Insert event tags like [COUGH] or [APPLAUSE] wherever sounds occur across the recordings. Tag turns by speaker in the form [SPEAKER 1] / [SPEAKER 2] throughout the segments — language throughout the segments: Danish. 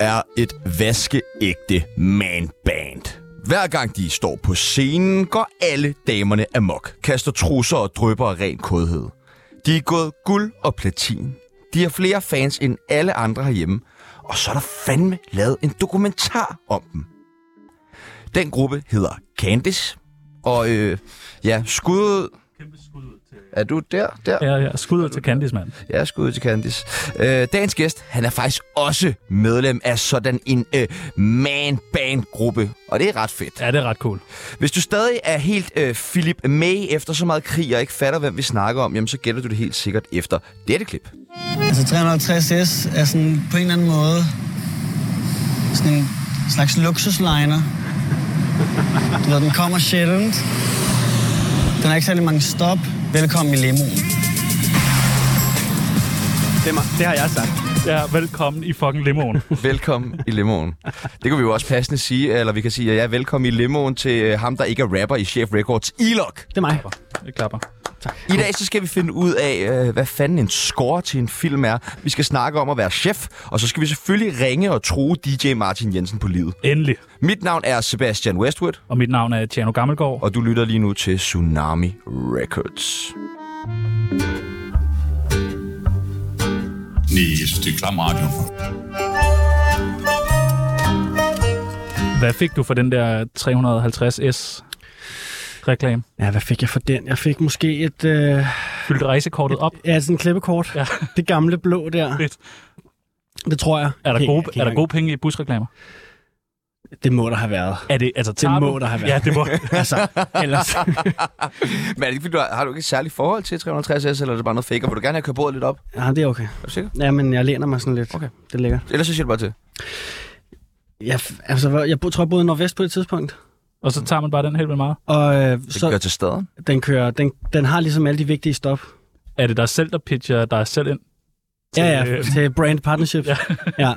[SPEAKER 1] er et vaskeægte manband. Hver gang de står på scenen, går alle damerne amok, kaster trusser og drøber af ren kodhed. De er gået guld og platin. De har flere fans end alle andre herhjemme, og så er der fandme lavet en dokumentar om dem. Den gruppe hedder Candice, og øh, ja, skud... Er du der? Der?
[SPEAKER 2] Ja, ja. Skud ud til Candice, mand.
[SPEAKER 1] Ja, skud ud til Candice. Øh, dagens gæst, han er faktisk også medlem af sådan en øh, man-band-gruppe, og det er ret fedt.
[SPEAKER 2] Ja, det er ret cool.
[SPEAKER 1] Hvis du stadig er helt øh, Philip May efter så meget krig og ikke fatter, hvem vi snakker om, jamen så gætter du det helt sikkert efter dette klip.
[SPEAKER 3] Altså 350S er sådan på en eller anden måde sådan en slags luksusliner. Du ved, den kommer sjældent. Den har ikke særlig mange stop. Velkommen i limoen.
[SPEAKER 4] Det, er mig. det har jeg sagt.
[SPEAKER 2] Ja, velkommen i fucking limoen.
[SPEAKER 1] Velkommen i limoen. Det kunne vi jo også passende sige, eller vi kan sige, at jeg er velkommen i limoen til øh, ham, der ikke er rapper i Chef Records, Ilok.
[SPEAKER 4] Det er mig.
[SPEAKER 2] Jeg klapper.
[SPEAKER 1] I dag så skal vi finde ud af, øh, hvad fanden en score til en film er. Vi skal snakke om at være chef, og så skal vi selvfølgelig ringe og true DJ Martin Jensen på livet.
[SPEAKER 2] Endelig.
[SPEAKER 1] Mit navn er Sebastian Westwood,
[SPEAKER 2] Og mit navn er Tjerno Gammelgaard.
[SPEAKER 1] og du lytter lige nu til Tsunami Records.
[SPEAKER 5] Nej, jeg synes, det er klam radio.
[SPEAKER 2] Hvad fik du for den der 350S reklame?
[SPEAKER 4] Ja, hvad fik jeg for den? Jeg fik måske et, øh,
[SPEAKER 2] Fyldte rejsekortet op?
[SPEAKER 4] ja, sådan en klippekort.
[SPEAKER 2] Ja.
[SPEAKER 4] Ja. [LAUGHS] Det gamle blå der.
[SPEAKER 2] Fedt.
[SPEAKER 4] Det tror jeg.
[SPEAKER 2] Er der
[SPEAKER 4] Kan-
[SPEAKER 2] gode,
[SPEAKER 4] kan
[SPEAKER 2] er der
[SPEAKER 4] jeg-
[SPEAKER 2] gode penge i busreklamer?
[SPEAKER 4] Det må der have været.
[SPEAKER 2] Er det, altså, tager
[SPEAKER 4] må
[SPEAKER 2] du-
[SPEAKER 4] der have været.
[SPEAKER 2] Ja, det må.
[SPEAKER 4] [LAUGHS] Altså, ellers.
[SPEAKER 1] Men er det ikke, fordi du har, har du ikke et særligt forhold til 360S, eller er det bare noget fake? Og vil du gerne have kørt bordet lidt op?
[SPEAKER 4] ja, det er okay.
[SPEAKER 1] Er du sikker?
[SPEAKER 4] Ja, men jeg læner mig sådan lidt.
[SPEAKER 1] Okay.
[SPEAKER 4] Det er lækkert.
[SPEAKER 1] Ellers så siger du bare til.
[SPEAKER 4] Jeg, f- altså, hvad- jeg bo- tror, jeg boede i Nordvest på det tidspunkt.
[SPEAKER 2] Og så tager man bare den helt vildt meget.
[SPEAKER 4] Og øh,
[SPEAKER 1] Det så...
[SPEAKER 4] så
[SPEAKER 1] kører til staden.
[SPEAKER 4] den kører, den, den har ligesom alle de vigtige stop.
[SPEAKER 2] Er det dig selv, der pitcher dig selv ind?
[SPEAKER 4] Til, ja, ja,
[SPEAKER 2] øh,
[SPEAKER 4] til brand partnerships. Ja. ja.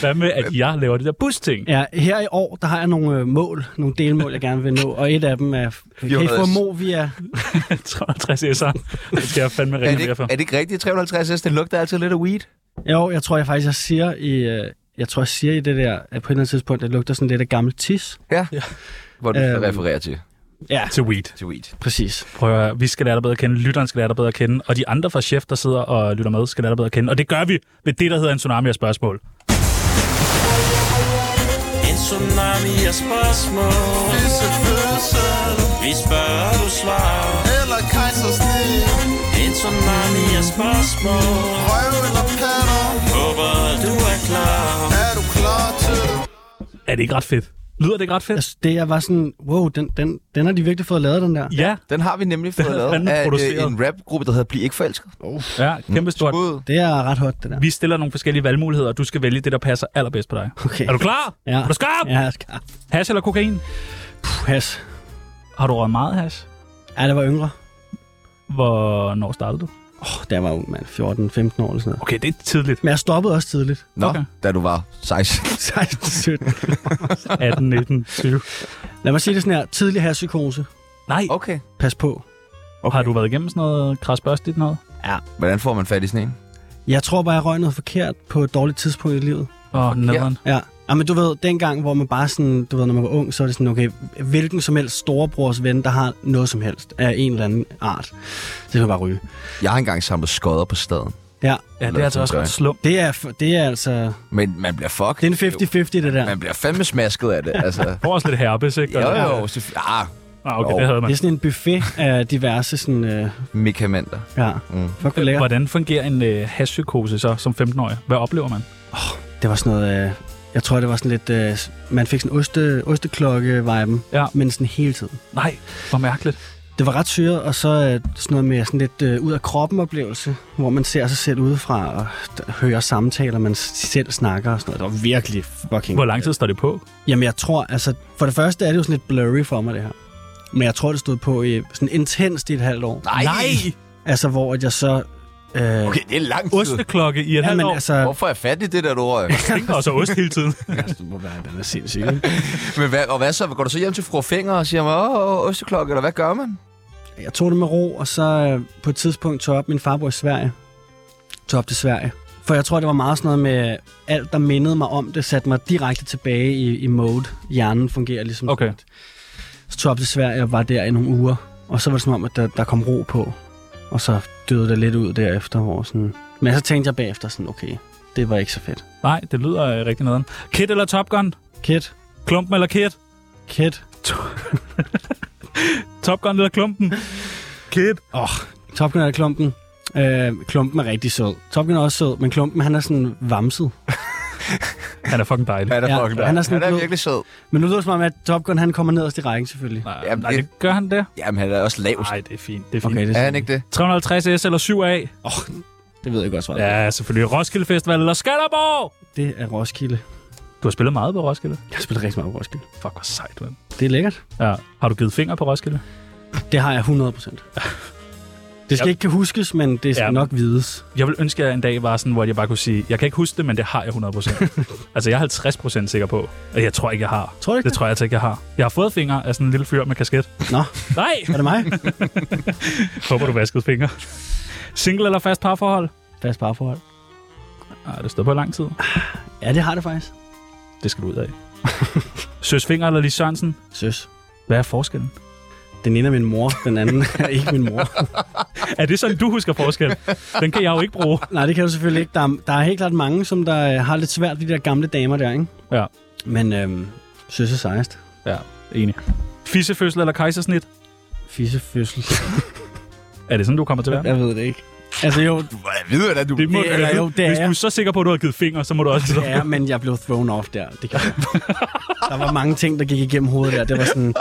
[SPEAKER 2] Hvad med, at jeg laver det der
[SPEAKER 4] [LAUGHS]
[SPEAKER 2] busting? [LAUGHS]
[SPEAKER 4] ja. Her i år, der har jeg nogle øh, mål, nogle delmål, jeg gerne vil nå, og et af dem er, kan I få Movia?
[SPEAKER 2] 360 S'er. Det skal jeg fandme
[SPEAKER 1] Er det,
[SPEAKER 2] ringe mere
[SPEAKER 1] ikke,
[SPEAKER 2] for.
[SPEAKER 1] er det ikke rigtigt, 350S, det lugter altid lidt af weed?
[SPEAKER 4] Jo, jeg tror jeg faktisk, jeg siger i, øh, jeg tror, jeg siger i det der, at på et eller andet tidspunkt, det lugter sådan lidt af gammel tis.
[SPEAKER 1] Hvor du
[SPEAKER 4] Øhm.
[SPEAKER 1] refererer til,
[SPEAKER 4] Ja,
[SPEAKER 2] Til weed.
[SPEAKER 1] til weed.
[SPEAKER 4] præcis.
[SPEAKER 2] Prøv at høre, vi skal lære dig bedre at kende, lytteren skal lære dig bedre at kende, og de andre fra Chef, der sidder og lytter med, skal lære dig bedre at kende. Og det gør vi ved det, der hedder en tsunami af spørgsmål.
[SPEAKER 6] En tsunami af spørgsmål Visse fødsel Vi spørger, du svarer
[SPEAKER 7] Eller kejsersnit
[SPEAKER 6] En tsunami af spørgsmål
[SPEAKER 7] Røv eller patter
[SPEAKER 6] Håber, du er klar
[SPEAKER 7] Er du klar til det?
[SPEAKER 2] Er det ikke ret fedt? Lyder det ikke ret fedt?
[SPEAKER 4] Altså, det jeg var sådan, wow, den, den, den har de virkelig fået lavet, den der.
[SPEAKER 2] Ja,
[SPEAKER 1] Den har vi nemlig
[SPEAKER 2] Den
[SPEAKER 1] fået
[SPEAKER 2] er
[SPEAKER 1] lavet
[SPEAKER 2] fandme
[SPEAKER 1] af øh,
[SPEAKER 2] produceret.
[SPEAKER 1] en rapgruppe, der hedder Bliv ikke forelsket.
[SPEAKER 2] ja kæmpe stort.
[SPEAKER 1] Skud.
[SPEAKER 4] Det er ret hot, det der.
[SPEAKER 2] Vi stiller nogle forskellige valgmuligheder, og du skal vælge det, der passer allerbedst på dig.
[SPEAKER 4] Okay.
[SPEAKER 2] Er du klar?
[SPEAKER 4] Ja.
[SPEAKER 2] Er du skarp?
[SPEAKER 4] Ja, jeg skal. Ah,
[SPEAKER 2] Hash eller kokain?
[SPEAKER 4] Puh, has.
[SPEAKER 2] Har du røget meget hash?
[SPEAKER 4] Ja, det var yngre.
[SPEAKER 2] Hvornår startede du?
[SPEAKER 4] Åh, der var jeg ung, mand. 14-15 år eller sådan noget.
[SPEAKER 2] Okay, det er [LAUGHS] tidligt.
[SPEAKER 4] Men jeg stoppede også tidligt.
[SPEAKER 1] Nå,
[SPEAKER 2] Okay.
[SPEAKER 1] da du var 16.
[SPEAKER 4] 16-17.
[SPEAKER 2] 18, 19, 20.
[SPEAKER 4] Lad mig sige det sådan her. Tidlig hashpsykose.
[SPEAKER 2] Nej,
[SPEAKER 1] Okay.
[SPEAKER 4] Pas på.
[SPEAKER 2] okay. har du været igennem sådan noget krasbørstigt noget?
[SPEAKER 1] Hvordan får man fat i sådan en?
[SPEAKER 4] Jeg tror bare, jeg røg noget forkert på et dårligt tidspunkt i livet.
[SPEAKER 2] Åh, oh, nederen.
[SPEAKER 4] Ja. Ja, men du ved, dengang, hvor man bare sådan, du ved, når man var ung, så er det sådan, okay, hvilken som helst storebrors ven, der har noget som helst af en eller anden art, det kan man bare ryge.
[SPEAKER 1] Jeg har engang samlet skodder på staden.
[SPEAKER 4] Ja,
[SPEAKER 2] Ja, det er altså også ret slum.
[SPEAKER 4] det er, f- det er altså,
[SPEAKER 1] Men man bliver fucked.
[SPEAKER 4] det er en 50-50, det der.
[SPEAKER 1] Man bliver fandme smasket af det, altså.
[SPEAKER 2] Får også lidt herpes, ikke?
[SPEAKER 1] Jo,
[SPEAKER 2] Og-
[SPEAKER 1] jo, selvfø- ah,
[SPEAKER 2] Ah, okay,
[SPEAKER 1] Jo.
[SPEAKER 2] det havde man.
[SPEAKER 4] Det er sådan en buffet af diverse sådan, øh,
[SPEAKER 1] medikamenter.
[SPEAKER 4] ja,
[SPEAKER 1] Mm.
[SPEAKER 4] fuck hvor lækkert.
[SPEAKER 2] Hvordan fungerer en øh, hashpsykose så som 15-årig? Hvad oplever man?
[SPEAKER 4] Det var sådan noget, øh, jeg tror, det var sådan lidt, øh, man fik sådan oste, osteklokke-viben,
[SPEAKER 2] Ja.
[SPEAKER 4] men sådan hele tiden.
[SPEAKER 2] Nej, hvor mærkeligt.
[SPEAKER 4] Det var ret syret, og så øh, sådan noget med sådan lidt øh, ud af kroppen oplevelse, hvor man ser sig selv udefra og d- hører samtaler, man s- selv snakker og sådan noget. Det var virkelig fucking...
[SPEAKER 2] Hvor lang tid står det på?
[SPEAKER 4] Jamen jeg tror, altså for det første er det jo sådan lidt blurry for mig det her. Men jeg tror, det stod på i, sådan intenst i et halvt år.
[SPEAKER 1] Nej! Nej.
[SPEAKER 4] Altså hvor at jeg så... Øh,
[SPEAKER 1] Okay, det er lang tid.
[SPEAKER 2] Osteklokke i et
[SPEAKER 4] ja,
[SPEAKER 2] halvt
[SPEAKER 4] men
[SPEAKER 2] år.
[SPEAKER 4] altså...
[SPEAKER 1] Hvorfor er jeg fat i det der, du røg?
[SPEAKER 2] Tænker også ost hele tiden.
[SPEAKER 4] Altså, du må være, den er sindssyg, ikke?
[SPEAKER 1] Men hvad, og hvad så? Går du så hjem til fru Finger og siger, åh, åh, osteklokke, eller hvad gør man?
[SPEAKER 4] Jeg tog det med ro, og så øh, på et tidspunkt tog jeg op. Min far bor i Sverige. Tog op til Sverige. For jeg tror, det var meget sådan noget med, alt der mindede mig om det, satte mig direkte tilbage i, i mode. Hjernen fungerer ligesom.
[SPEAKER 2] Okay.
[SPEAKER 4] sådan. Så tog jeg op til Sverige og var der i nogle uger, og så var det som om, at der, der kom ro på. Og så døde det lidt ud derefter, hvor sådan... Men så tænkte jeg bagefter sådan, okay, det var ikke så fedt.
[SPEAKER 2] Nej, det lyder øh, rigtig noget. Kid eller Top Gun?
[SPEAKER 4] Kid,
[SPEAKER 2] Klumpen eller Kid?
[SPEAKER 4] kid,
[SPEAKER 2] Top Gun eller Klumpen? Kid.
[SPEAKER 4] Top Gun er klumpen. Øh, klumpen er rigtig sød. Top Gun er også sød, men klumpen han er sådan vamset.
[SPEAKER 2] Han er fucking dejlig.
[SPEAKER 8] Han er,
[SPEAKER 4] Ja,
[SPEAKER 8] fucking
[SPEAKER 4] han er sådan
[SPEAKER 8] han er
[SPEAKER 4] blød.
[SPEAKER 8] virkelig sød.
[SPEAKER 4] Men nu lyder det som om, at Top Gun han kommer nederst i rækken selvfølgelig.
[SPEAKER 2] Nej,
[SPEAKER 8] Jamen,
[SPEAKER 2] nej,
[SPEAKER 8] det-
[SPEAKER 2] det gør han det.
[SPEAKER 8] Jamen, han er også lavt.
[SPEAKER 2] Nej, det er fint. Det er fint.
[SPEAKER 4] Okay, det,
[SPEAKER 8] Er han ikke det?
[SPEAKER 2] 350S eller 7A?
[SPEAKER 4] det ved jeg godt svaret.
[SPEAKER 2] Ja, selvfølgelig. Roskilde Festival eller Skanderborg?
[SPEAKER 4] Det er Roskilde.
[SPEAKER 2] Du har spillet meget på Roskilde.
[SPEAKER 4] Jeg har spillet rigtig meget på Roskilde.
[SPEAKER 2] Fuck, hvor sejt, man.
[SPEAKER 4] Det er lækkert.
[SPEAKER 2] Ja. Har du givet fingre på Roskilde?
[SPEAKER 4] Det har jeg 100 procent. Det skal
[SPEAKER 2] Ja.
[SPEAKER 4] ikke kan huskes, men det skal
[SPEAKER 2] Ja.
[SPEAKER 4] nok vides.
[SPEAKER 2] Jeg vil ønske, at jeg en dag var sådan, hvor jeg bare kunne sige, jeg kan ikke huske det, men det har jeg
[SPEAKER 4] [LAUGHS]
[SPEAKER 2] 100%. altså, jeg er 50% sikker på, at jeg tror ikke, jeg har.
[SPEAKER 4] Tror du ikke
[SPEAKER 2] Det tror jeg altså ikke, jeg har. Jeg har fået fingre af sådan en lille fyr med kasket.
[SPEAKER 4] Nå, [LAUGHS]
[SPEAKER 2] Nej!
[SPEAKER 4] er det mig?
[SPEAKER 2] Håber, du vaskede fingre. Single eller fast parforhold?
[SPEAKER 4] Fast parforhold.
[SPEAKER 2] Nej, det står på i lang tid.
[SPEAKER 4] Ja, det har det faktisk.
[SPEAKER 2] Det skal du ud af. Søs Finger eller Lis Sørensen?
[SPEAKER 4] Søs.
[SPEAKER 2] Hvad er forskellen?
[SPEAKER 4] Den ene er min mor, den anden [LAUGHS] er ikke min mor.
[SPEAKER 2] Er det sådan, du husker forskellen? Den kan jeg jo ikke bruge.
[SPEAKER 4] Nej, det kan du selvfølgelig ikke. Der er, der er helt klart mange, som der øh, har lidt svært ved de der gamle damer der, ikke?
[SPEAKER 2] Ja.
[SPEAKER 4] Men øhm, søs er sejst.
[SPEAKER 2] Ja, enig. Fissefødsel eller kejsersnit?
[SPEAKER 4] Fissefødsel.
[SPEAKER 2] Er det sådan, du kommer til at være?
[SPEAKER 4] Jeg ved det ikke. Altså jo,
[SPEAKER 8] Du jeg ved, hvordan du...
[SPEAKER 2] Det må
[SPEAKER 4] Det er
[SPEAKER 2] det,
[SPEAKER 4] jo, det er
[SPEAKER 2] Hvis du er
[SPEAKER 4] jeg.
[SPEAKER 2] så sikker på, at du har givet fingre, så må du også
[SPEAKER 4] det er, men jeg blev thrown off der.
[SPEAKER 2] [LAUGHS]
[SPEAKER 4] Det kan jeg. Der var mange ting, der gik igennem hovedet der. Det var sådan...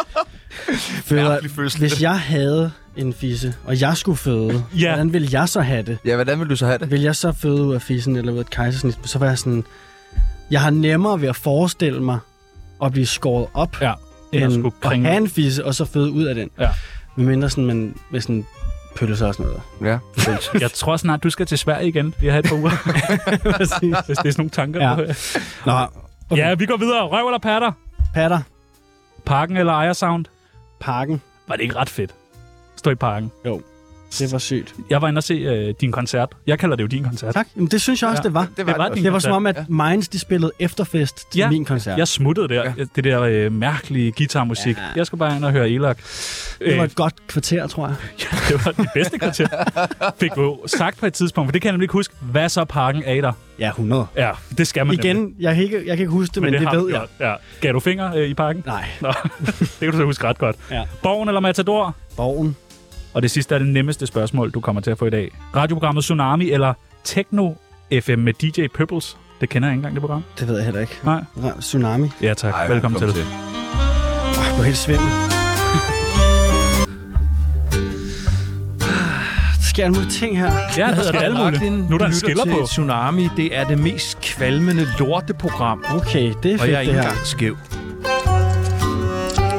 [SPEAKER 8] Mærkelig
[SPEAKER 4] Føder,
[SPEAKER 8] fødsel.
[SPEAKER 4] hvis jeg havde en fisse, og jeg skulle føde,
[SPEAKER 2] Ja.
[SPEAKER 4] ja. hvordan ville jeg så have det?
[SPEAKER 8] Ja, hvordan vil du så have det?
[SPEAKER 4] Vil jeg så føde ud af fissen eller ud af et kejsersnit? Så var jeg sådan... Jeg har nemmere ved at forestille mig at blive skåret op,
[SPEAKER 2] Ja, end at
[SPEAKER 4] end
[SPEAKER 2] skulle
[SPEAKER 4] at
[SPEAKER 2] kringle.
[SPEAKER 4] have en fisse, og så føde ud af den.
[SPEAKER 2] Ja.
[SPEAKER 4] Med mindre sådan, man med sådan pølser og sådan noget.
[SPEAKER 8] Ja.
[SPEAKER 2] Jeg tror snart, du skal til Sverige igen. Vi har et par
[SPEAKER 4] [LAUGHS]
[SPEAKER 2] uger,
[SPEAKER 4] Præcis.
[SPEAKER 2] hvis det er sådan nogle tanker.
[SPEAKER 4] Ja.
[SPEAKER 2] Ja.
[SPEAKER 4] Nå,
[SPEAKER 2] Okay. ja, vi går videre. Røv eller patter?
[SPEAKER 4] patter,
[SPEAKER 2] Parken eller Ejersound?
[SPEAKER 4] pakken.
[SPEAKER 2] Var det ikke ret fedt? Stå i parken.
[SPEAKER 4] Det var sygt.
[SPEAKER 2] Jeg var inde og se øh, din koncert. Jeg kalder det jo din koncert.
[SPEAKER 4] Tak. Jamen, det synes jeg også,
[SPEAKER 2] Ja.
[SPEAKER 4] ja. det var.
[SPEAKER 8] Det
[SPEAKER 2] var din
[SPEAKER 4] Det var som
[SPEAKER 2] koncert.
[SPEAKER 4] om, at Minds de spillede efterfest til
[SPEAKER 2] Ja.
[SPEAKER 4] min koncert.
[SPEAKER 2] Jeg smuttede der. Ja. Det der øh, mærkelige guitarmusik. Ja.
[SPEAKER 4] Ja.
[SPEAKER 2] Jeg skulle bare ind og høre Elak.
[SPEAKER 4] Det var
[SPEAKER 2] Øh,
[SPEAKER 4] et godt kvarter, tror jeg.
[SPEAKER 2] det var det bedste kvarter.
[SPEAKER 4] [LAUGHS]
[SPEAKER 2] Fik jo sagt på et tidspunkt, for det kan jeg nemlig ikke huske. Hvad så parken af dig?
[SPEAKER 4] Ja, 100.
[SPEAKER 2] Ja, det skal man nemlig.
[SPEAKER 4] Igen, jeg kan ikke, jeg kan ikke huske det, men, men det,
[SPEAKER 2] har
[SPEAKER 4] det ved
[SPEAKER 2] vi
[SPEAKER 4] jeg.
[SPEAKER 2] gjort. Ja. Gav du fingre øh, i parken?
[SPEAKER 4] Nej,
[SPEAKER 2] Nå, [LAUGHS] det kan du så huske ret godt.
[SPEAKER 4] Ja.
[SPEAKER 2] Borgen eller Matador?
[SPEAKER 4] Borgen.
[SPEAKER 2] Og det sidste er det nemmeste spørgsmål, du kommer til at få i dag. Radioprogrammet Tsunami eller Techno FM med DJ Pebbles? Det kender jeg ikke engang, det program.
[SPEAKER 4] Det ved jeg heller ikke.
[SPEAKER 2] Nej.
[SPEAKER 4] Ra- Tsunami.
[SPEAKER 2] Ja tak, Ej, velkommen til. til.
[SPEAKER 4] Jeg blev helt [LAUGHS] svimmel. Der sker en mulig ting her.
[SPEAKER 2] Ja, det hedder det alle muligt. Nu er der en skiller på.
[SPEAKER 1] Tsunami, det er det mest kvalmende lorteprogram,
[SPEAKER 4] Okay, det er
[SPEAKER 1] og
[SPEAKER 4] fedt,
[SPEAKER 1] jeg er ikke
[SPEAKER 4] det her.
[SPEAKER 1] engang skæv.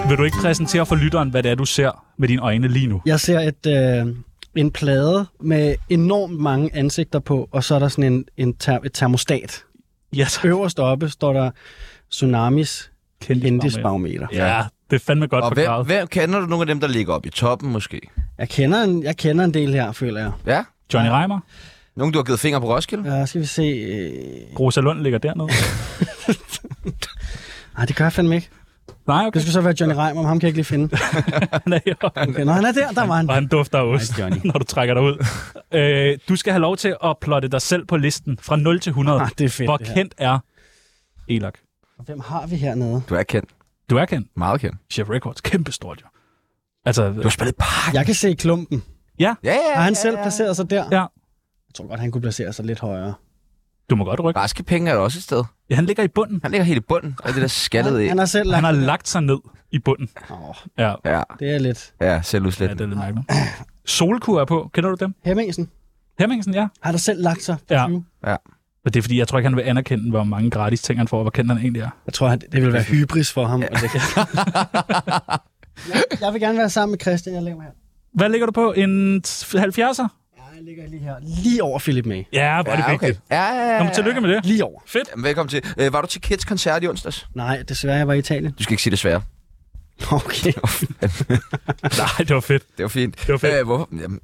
[SPEAKER 2] Vil du ikke præsentere for lytteren, hvad det er, du ser med dine øjne lige nu?
[SPEAKER 4] Jeg ser et, øh, en plade med enormt mange ansigter på, og så er der sådan en, en ter- et termostat.
[SPEAKER 2] Ja, tak.
[SPEAKER 4] Øverst oppe står der Tsunamis
[SPEAKER 2] Kendisbarometer.
[SPEAKER 4] kendisbarometer.
[SPEAKER 2] Ja, det er fandme godt
[SPEAKER 8] Og hvem,
[SPEAKER 2] forklaret.
[SPEAKER 8] hvem kender du nogle af dem, der ligger oppe i toppen måske?
[SPEAKER 4] Jeg kender, en, jeg kender en del her, føler jeg.
[SPEAKER 8] Ja?
[SPEAKER 2] Johnny Reimer?
[SPEAKER 8] Nogen, du har givet fingre på Roskilde?
[SPEAKER 4] Ja, skal vi se... Øh...
[SPEAKER 2] Rosa Lund ligger dernede.
[SPEAKER 4] Nej, det gør jeg fandme ikke.
[SPEAKER 2] Nej, [LAUGHS] okay.
[SPEAKER 4] Det skulle så være Johnny Reimer, men ham kan jeg ikke lige finde.
[SPEAKER 2] Han er jo.
[SPEAKER 4] Okay, nå, han er der, der var han.
[SPEAKER 2] Og han dufter af ost,
[SPEAKER 4] Ej, Johnny.
[SPEAKER 2] [LAUGHS] når du trækker dig ud. øh, du skal have lov til at plotte dig selv på listen fra 0 til 100.
[SPEAKER 4] Ah, det er fedt,
[SPEAKER 2] Hvor
[SPEAKER 4] det her.
[SPEAKER 2] kendt er Elak?
[SPEAKER 4] Hvem har vi hernede?
[SPEAKER 8] Du er kendt.
[SPEAKER 2] Du er kendt.
[SPEAKER 8] Meget kendt.
[SPEAKER 2] Chef Records. Kæmpestort, jo. Altså,
[SPEAKER 8] Du har spillet park.
[SPEAKER 4] Jeg kan se klumpen.
[SPEAKER 8] Ja, ja,
[SPEAKER 4] Har han selv placeret sig der?
[SPEAKER 2] Ja.
[SPEAKER 4] Jeg tror godt, han kunne placere sig lidt højere.
[SPEAKER 2] du må godt rykke.
[SPEAKER 8] Raske penge er der også et sted.
[SPEAKER 2] Ja, han ligger i bunden.
[SPEAKER 8] Han ligger helt i bunden af det der skaldede
[SPEAKER 4] Han,
[SPEAKER 8] æg.
[SPEAKER 4] han har selv
[SPEAKER 2] Han
[SPEAKER 4] lagt...
[SPEAKER 2] har lagt sig ned i bunden.
[SPEAKER 4] Åh,
[SPEAKER 2] Ja,
[SPEAKER 8] Ja,
[SPEAKER 4] det er lidt...
[SPEAKER 8] ja,
[SPEAKER 2] ja
[SPEAKER 8] selvudslæt.
[SPEAKER 2] det er lidt mærkeligt. Solkur er på. Kender du dem?
[SPEAKER 4] Hemmingsen
[SPEAKER 2] Hemmingsen, ja.
[SPEAKER 4] har der selv lagt sig på
[SPEAKER 2] Ja.
[SPEAKER 4] ja.
[SPEAKER 2] Men det er fordi, jeg tror ikke, han vil anerkende, hvor mange gratis ting, han får, og hvor kendt han egentlig er.
[SPEAKER 4] Jeg tror, han, det vil være hybris for ham. Og det kan... [LAUGHS] jeg, jeg vil gerne være sammen med Christian, jeg lever her.
[SPEAKER 2] Hvad ligger du på? En t- 70'er?
[SPEAKER 4] Ja, jeg ligger lige her. Lige over Philip May.
[SPEAKER 2] Ja, hvor er det
[SPEAKER 8] Ja, okay.
[SPEAKER 2] vigtigt.
[SPEAKER 8] Ja, ja, ja.
[SPEAKER 2] Kom, tillykke med det.
[SPEAKER 4] Lige over.
[SPEAKER 2] Fedt.
[SPEAKER 8] Jamen, Velkommen til. Øh, var du til Kids koncert i onsdags?
[SPEAKER 4] Nej, desværre, jeg var i Italien. [LAUGHS]
[SPEAKER 8] Du skal ikke sige desværre.
[SPEAKER 2] Nej,
[SPEAKER 4] Okay.
[SPEAKER 2] det var fedt.
[SPEAKER 8] [LAUGHS] Det var fint.
[SPEAKER 2] var fedt.
[SPEAKER 8] Øh, hvorfor? Jamen.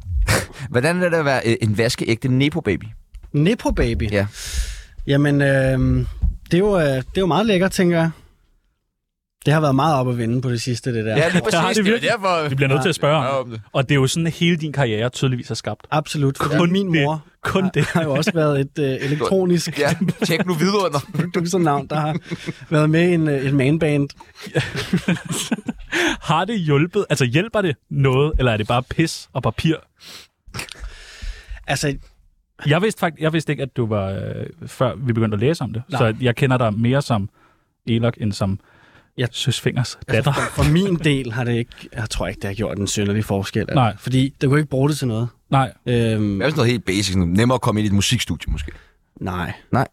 [SPEAKER 8] Hvordan er det at være øh, en vaskeægte Nepo-baby?
[SPEAKER 4] Nepo Baby.
[SPEAKER 9] Ja.
[SPEAKER 4] Jamen, øh, det, er jo, øh, det er jo meget lækkert, tænker jeg. Det har været meget op at vinde på det sidste, det der.
[SPEAKER 8] Ja, lige
[SPEAKER 2] Der har
[SPEAKER 8] præcis.
[SPEAKER 2] det
[SPEAKER 8] Det er
[SPEAKER 2] virkelig.
[SPEAKER 8] derfor...
[SPEAKER 2] Vi bliver nødt til at spørge
[SPEAKER 8] Ja, om
[SPEAKER 2] om
[SPEAKER 8] det.
[SPEAKER 2] det. Og det er jo sådan, at hele din karriere tydeligvis er skabt.
[SPEAKER 4] Absolut, fordi Kun min
[SPEAKER 2] det.
[SPEAKER 4] mor
[SPEAKER 2] Kun
[SPEAKER 4] har,
[SPEAKER 2] det.
[SPEAKER 4] har jo også været et øh, elektronisk
[SPEAKER 8] Ja, tjek nu videre under.
[SPEAKER 4] [LAUGHS] producernavn, der har været med i en, øh, et manband.
[SPEAKER 2] Har det hjulpet? Altså hjælper det noget, eller er det bare pis og papir?
[SPEAKER 4] Altså,
[SPEAKER 2] Jeg vidste faktisk jeg vidste ikke, at du var, øh, før vi begyndte at læse om det.
[SPEAKER 4] Nej.
[SPEAKER 2] Nej. Så jeg kender dig mere som Elok, end som
[SPEAKER 4] Jeg- Altså,
[SPEAKER 2] jeg... Søsfingers datter.
[SPEAKER 4] for min del har det ikke, jeg tror ikke, det har gjort en synderlig forskel.
[SPEAKER 2] Nej.
[SPEAKER 4] Fordi det kunne ikke bruge det til noget.
[SPEAKER 2] [LAUGHS] Nej,
[SPEAKER 4] Øhm,
[SPEAKER 8] Det er jo sådan noget helt basic. Sådan nemmere at komme ind i et musikstudie, måske.
[SPEAKER 4] Nej.
[SPEAKER 9] Nej.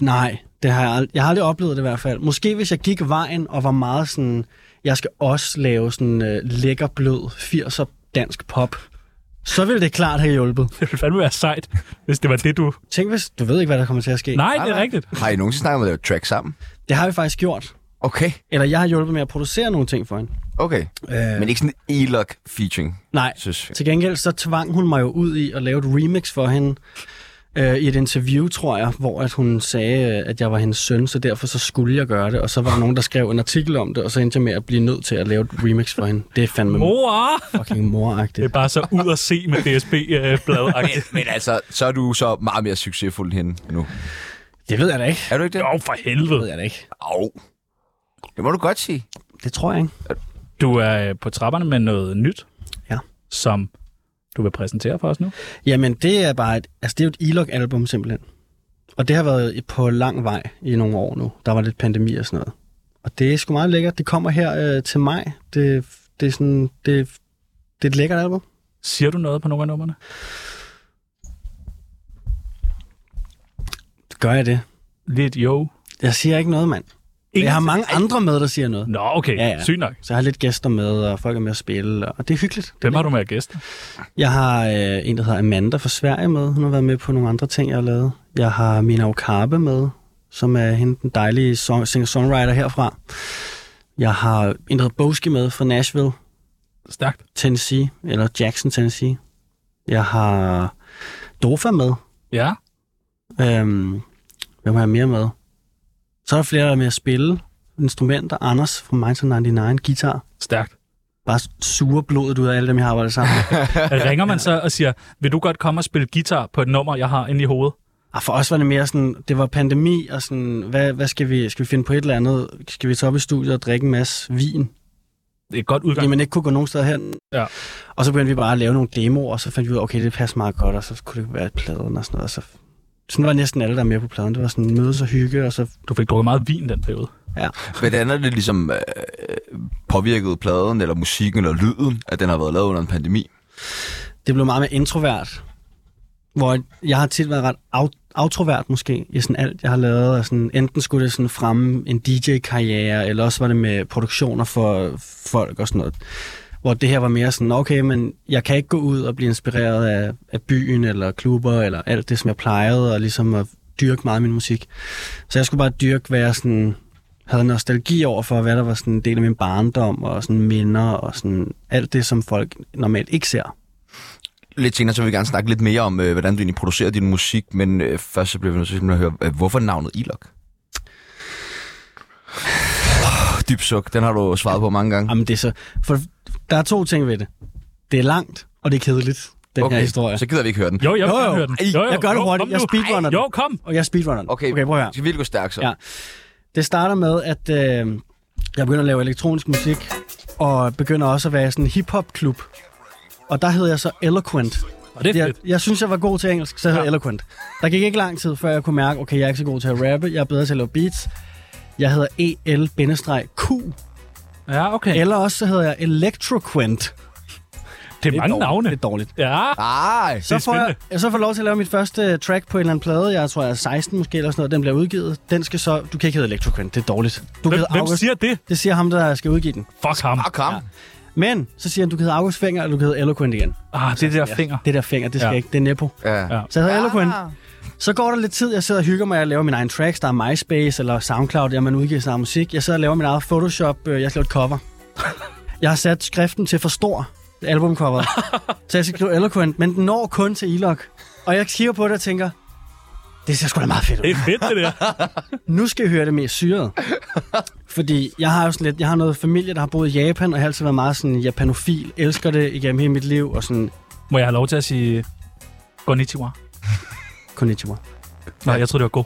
[SPEAKER 4] Nej, det har jeg, ald- jeg har aldrig oplevet det i hvert fald. Måske hvis jeg gik vejen og var meget sådan, jeg skal også lave sådan øh, lækker, blød 80'er dansk pop, så ville det klart have hjulpet.
[SPEAKER 2] det ville fandme være sejt, hvis det var det, du...
[SPEAKER 4] Tænk hvis, du ved ikke, hvad der kommer til at ske.
[SPEAKER 2] Nej, det er rigtigt.
[SPEAKER 8] Har I nogensinde snakket om at lave et track sammen?
[SPEAKER 4] Det har vi faktisk gjort.
[SPEAKER 8] Okay,
[SPEAKER 4] Eller jeg har hjulpet med at producere nogle ting for hende.
[SPEAKER 8] okay.
[SPEAKER 4] Øh,
[SPEAKER 8] Men ikke sådan en elok featuring,
[SPEAKER 4] nej,
[SPEAKER 8] synes jeg.
[SPEAKER 4] til gengæld så tvang hun mig jo ud i at lave et remix for hende øh, i et interview, tror jeg, hvor at hun sagde, øh, at jeg var hendes søn, så derfor så skulle jeg gøre det. Og så var der nogen, der skrev en artikel om det, og så endte jeg med at blive nødt til at lave et remix for hende. Det er fandme
[SPEAKER 2] Mor!
[SPEAKER 4] fucking
[SPEAKER 2] Det er
[SPEAKER 4] moragtigt.
[SPEAKER 2] bare så ud at se med DSB-bladet.
[SPEAKER 8] Men,
[SPEAKER 4] [LAUGHS]
[SPEAKER 8] men altså, så er du så meget mere succesfuld end hende nu.
[SPEAKER 4] Det ved jeg da ikke.
[SPEAKER 8] Er du ikke det?
[SPEAKER 2] Åh, oh, for
[SPEAKER 4] Det ved
[SPEAKER 2] helvede.
[SPEAKER 4] jeg da ikke.
[SPEAKER 8] Au. Det må du godt sige.
[SPEAKER 4] Det tror jeg ikke.
[SPEAKER 2] Du er øh, på trapperne med noget nyt,
[SPEAKER 4] Ja.
[SPEAKER 2] som
[SPEAKER 4] som
[SPEAKER 2] du vil præsentere for os nu.
[SPEAKER 4] Jamen, det er bare et, altså, det er jo et E-Log-album simpelthen. Og det har været på lang vej i nogle år nu. Der var lidt pandemi og sådan noget. Og det er sgu meget lækkert. Det kommer her øh, til maj. Det, det er sådan, det, det er et lækkert album.
[SPEAKER 2] Siger du noget på nogle af numrene?
[SPEAKER 4] Gør jeg det?
[SPEAKER 2] Lidt jo.
[SPEAKER 4] Jeg siger ikke noget, mand. Ingen... Jeg har mange andre med, der siger noget.
[SPEAKER 2] Nå, okay.
[SPEAKER 4] Ja,
[SPEAKER 2] Ja,
[SPEAKER 4] ja.
[SPEAKER 2] ja. Sygt nok.
[SPEAKER 4] Så jeg har lidt gæster med, og folk er med at spille, og det er hyggeligt.
[SPEAKER 2] Hvem har du med at gæste?
[SPEAKER 4] Jeg har øh, en, der hedder Amanda fra Sverige med. Hun har været med på nogle andre ting, jeg har lavet. Jeg har Mina Okabe med, som er hende den dejlige song- singer-songwriter herfra. Jeg har en, der hedder Boski med fra Nashville,
[SPEAKER 2] Stærkt.
[SPEAKER 4] Tennessee, eller Jackson, Tennessee. Jeg har Dofa med.
[SPEAKER 2] Ja.
[SPEAKER 4] Øhm, hvem har jeg mere med? Så er der flere, der er med at spille. Instrumenter. Anders fra Minds on 99, guitar.
[SPEAKER 2] Stærkt.
[SPEAKER 4] Bare suger blodet ud af alle dem, jeg har arbejdet sammen med.
[SPEAKER 2] Ringer man så og siger, vil du godt komme og spille guitar på et nummer, jeg har inde i hovedet?
[SPEAKER 4] Og Ah, for os var det mere sådan, det var pandemi, og sådan, hvad, hvad skal, vi, skal vi finde på et eller andet? Skal vi tage op i studiet og drikke en masse vin?
[SPEAKER 2] Det er et godt
[SPEAKER 4] Fordi
[SPEAKER 2] udgang.
[SPEAKER 4] man ikke kunne gå nogen steder hen.
[SPEAKER 2] Ja.
[SPEAKER 4] Og så begyndte vi bare at lave nogle demoer, og så fandt vi ud af, okay, det passer meget godt, og så kunne det være et pladen og sådan noget. Og så, sådan var næsten alle, der er med på pladen. Det var sådan mødes og hygge, og så
[SPEAKER 2] Du fik drukket meget vin den periode.
[SPEAKER 8] Hvordan er det ligesom øh, påvirket pladen, eller musikken, eller lyden, at den har været lavet under en pandemi?
[SPEAKER 4] det blev meget mere introvert. Hvor jeg har tit været ret au- outrovert måske i sådan alt, jeg har lavet. Og sådan, enten skulle det sådan fremme en DJ-karriere, eller også var det med produktioner for folk og sådan noget. Hvor det her var mere sådan, okay, men jeg kan ikke gå ud og blive inspireret af, af byen, eller klubber, eller alt det, som jeg plejede, og ligesom at dyrke meget min musik. Så jeg skulle bare dyrke, hvad jeg sådan havde nostalgi over for, hvad der var sådan en del af min barndom, og sådan minder, og sådan alt det, som folk normalt ikke ser.
[SPEAKER 8] Lidt senere, så vil vi gerne snakke lidt mere om, øh, hvordan du egentlig producerer din musik, men øh, først så bliver vi nødt til simpelthen at høre, øh, hvorfor navnet Ilok? [SIGHS] Dyb suk, den har du svaret på mange gange.
[SPEAKER 4] Mm-hmm. Jamen, det er så... For der er to ting ved det. Det er langt, og det er kedeligt, den okay. her historie.
[SPEAKER 8] så gider vi ikke høre den.
[SPEAKER 2] Jo, jeg
[SPEAKER 4] Jo,
[SPEAKER 2] vil
[SPEAKER 4] jo.
[SPEAKER 2] gerne høre den.
[SPEAKER 4] Ej, jeg gør det
[SPEAKER 2] Jo,
[SPEAKER 4] hurtigt.
[SPEAKER 2] kom
[SPEAKER 4] Jeg
[SPEAKER 2] nu.
[SPEAKER 4] speedrunner den.
[SPEAKER 2] Jo, kom.
[SPEAKER 4] Og jeg speedrunner. den.
[SPEAKER 8] Okay.
[SPEAKER 4] okay prøv at høre.
[SPEAKER 8] Skal vi virkelig gå stærkt så?
[SPEAKER 4] Ja. Det starter med, at øh, jeg begynder at lave elektronisk musik, og begynder også at være i sådan en hip-hop-klub. Og der hedder jeg så Eloquent.
[SPEAKER 2] Og det er
[SPEAKER 4] Jeg,
[SPEAKER 2] fedt.
[SPEAKER 4] jeg synes, jeg var god til engelsk, så jeg hedder ja. Eloquent. Der gik ikke lang tid, før jeg kunne mærke, okay, jeg er ikke så god til at rappe, jeg er bedre til at lave beats. Jeg hedder E EL-Q,
[SPEAKER 2] Ja, okay.
[SPEAKER 4] eller også så hedder jeg Electroquent.
[SPEAKER 2] Det er mange navne.
[SPEAKER 4] Det er dårligt.
[SPEAKER 2] Ja,
[SPEAKER 8] Ej,
[SPEAKER 4] Så
[SPEAKER 2] er
[SPEAKER 4] får, jeg, så får jeg lov til at lave mit første eh, track på en eller anden plade. Jeg tror, jeg er 16 måske, eller sådan noget. Den bliver udgivet. Den skal så... Du kan ikke hedde Electroquent, det er dårligt. Du kan
[SPEAKER 2] hvem,
[SPEAKER 4] hedde
[SPEAKER 2] hvem
[SPEAKER 4] August.
[SPEAKER 2] siger det?
[SPEAKER 4] Det siger ham, der skal udgive den.
[SPEAKER 2] Fuck ham.
[SPEAKER 8] ah, kom. Ja.
[SPEAKER 4] Men så siger han, du kan hedde August Fenger, og du kan hedde Eloquent igen.
[SPEAKER 2] Ah, det der finger.
[SPEAKER 4] Det der Fenger, det skal
[SPEAKER 2] Ja.
[SPEAKER 4] ja. ikke. Det er Nepo.
[SPEAKER 8] Ja.
[SPEAKER 2] Ja.
[SPEAKER 4] Så jeg hedder Eloquent. Så går der lidt tid, jeg sidder og hygger mig, jeg laver mine egne tracks, der er MySpace eller SoundCloud, der man udgiver sin egen musik. Jeg sidder og laver min eget Photoshop, øh, jeg skal lave et cover. jeg har sat skriften til for stor, albumcoveret. så jeg skal skrive Eloquent, men den når kun til Elok. Og jeg kigger på det og tænker, det ser sgu da meget fedt ud.
[SPEAKER 2] Det er fedt, det der.
[SPEAKER 4] nu skal jeg høre det mere syret. Fordi jeg har jo sådan lidt, jeg har noget familie, der har boet i Japan, og jeg har altid været meget sådan japanofil, elsker det igennem hele mit liv, og sådan,
[SPEAKER 2] Må jeg have lov til at sige konnichiwa?
[SPEAKER 4] konnichiwa.
[SPEAKER 2] Nå, jeg tror det var god.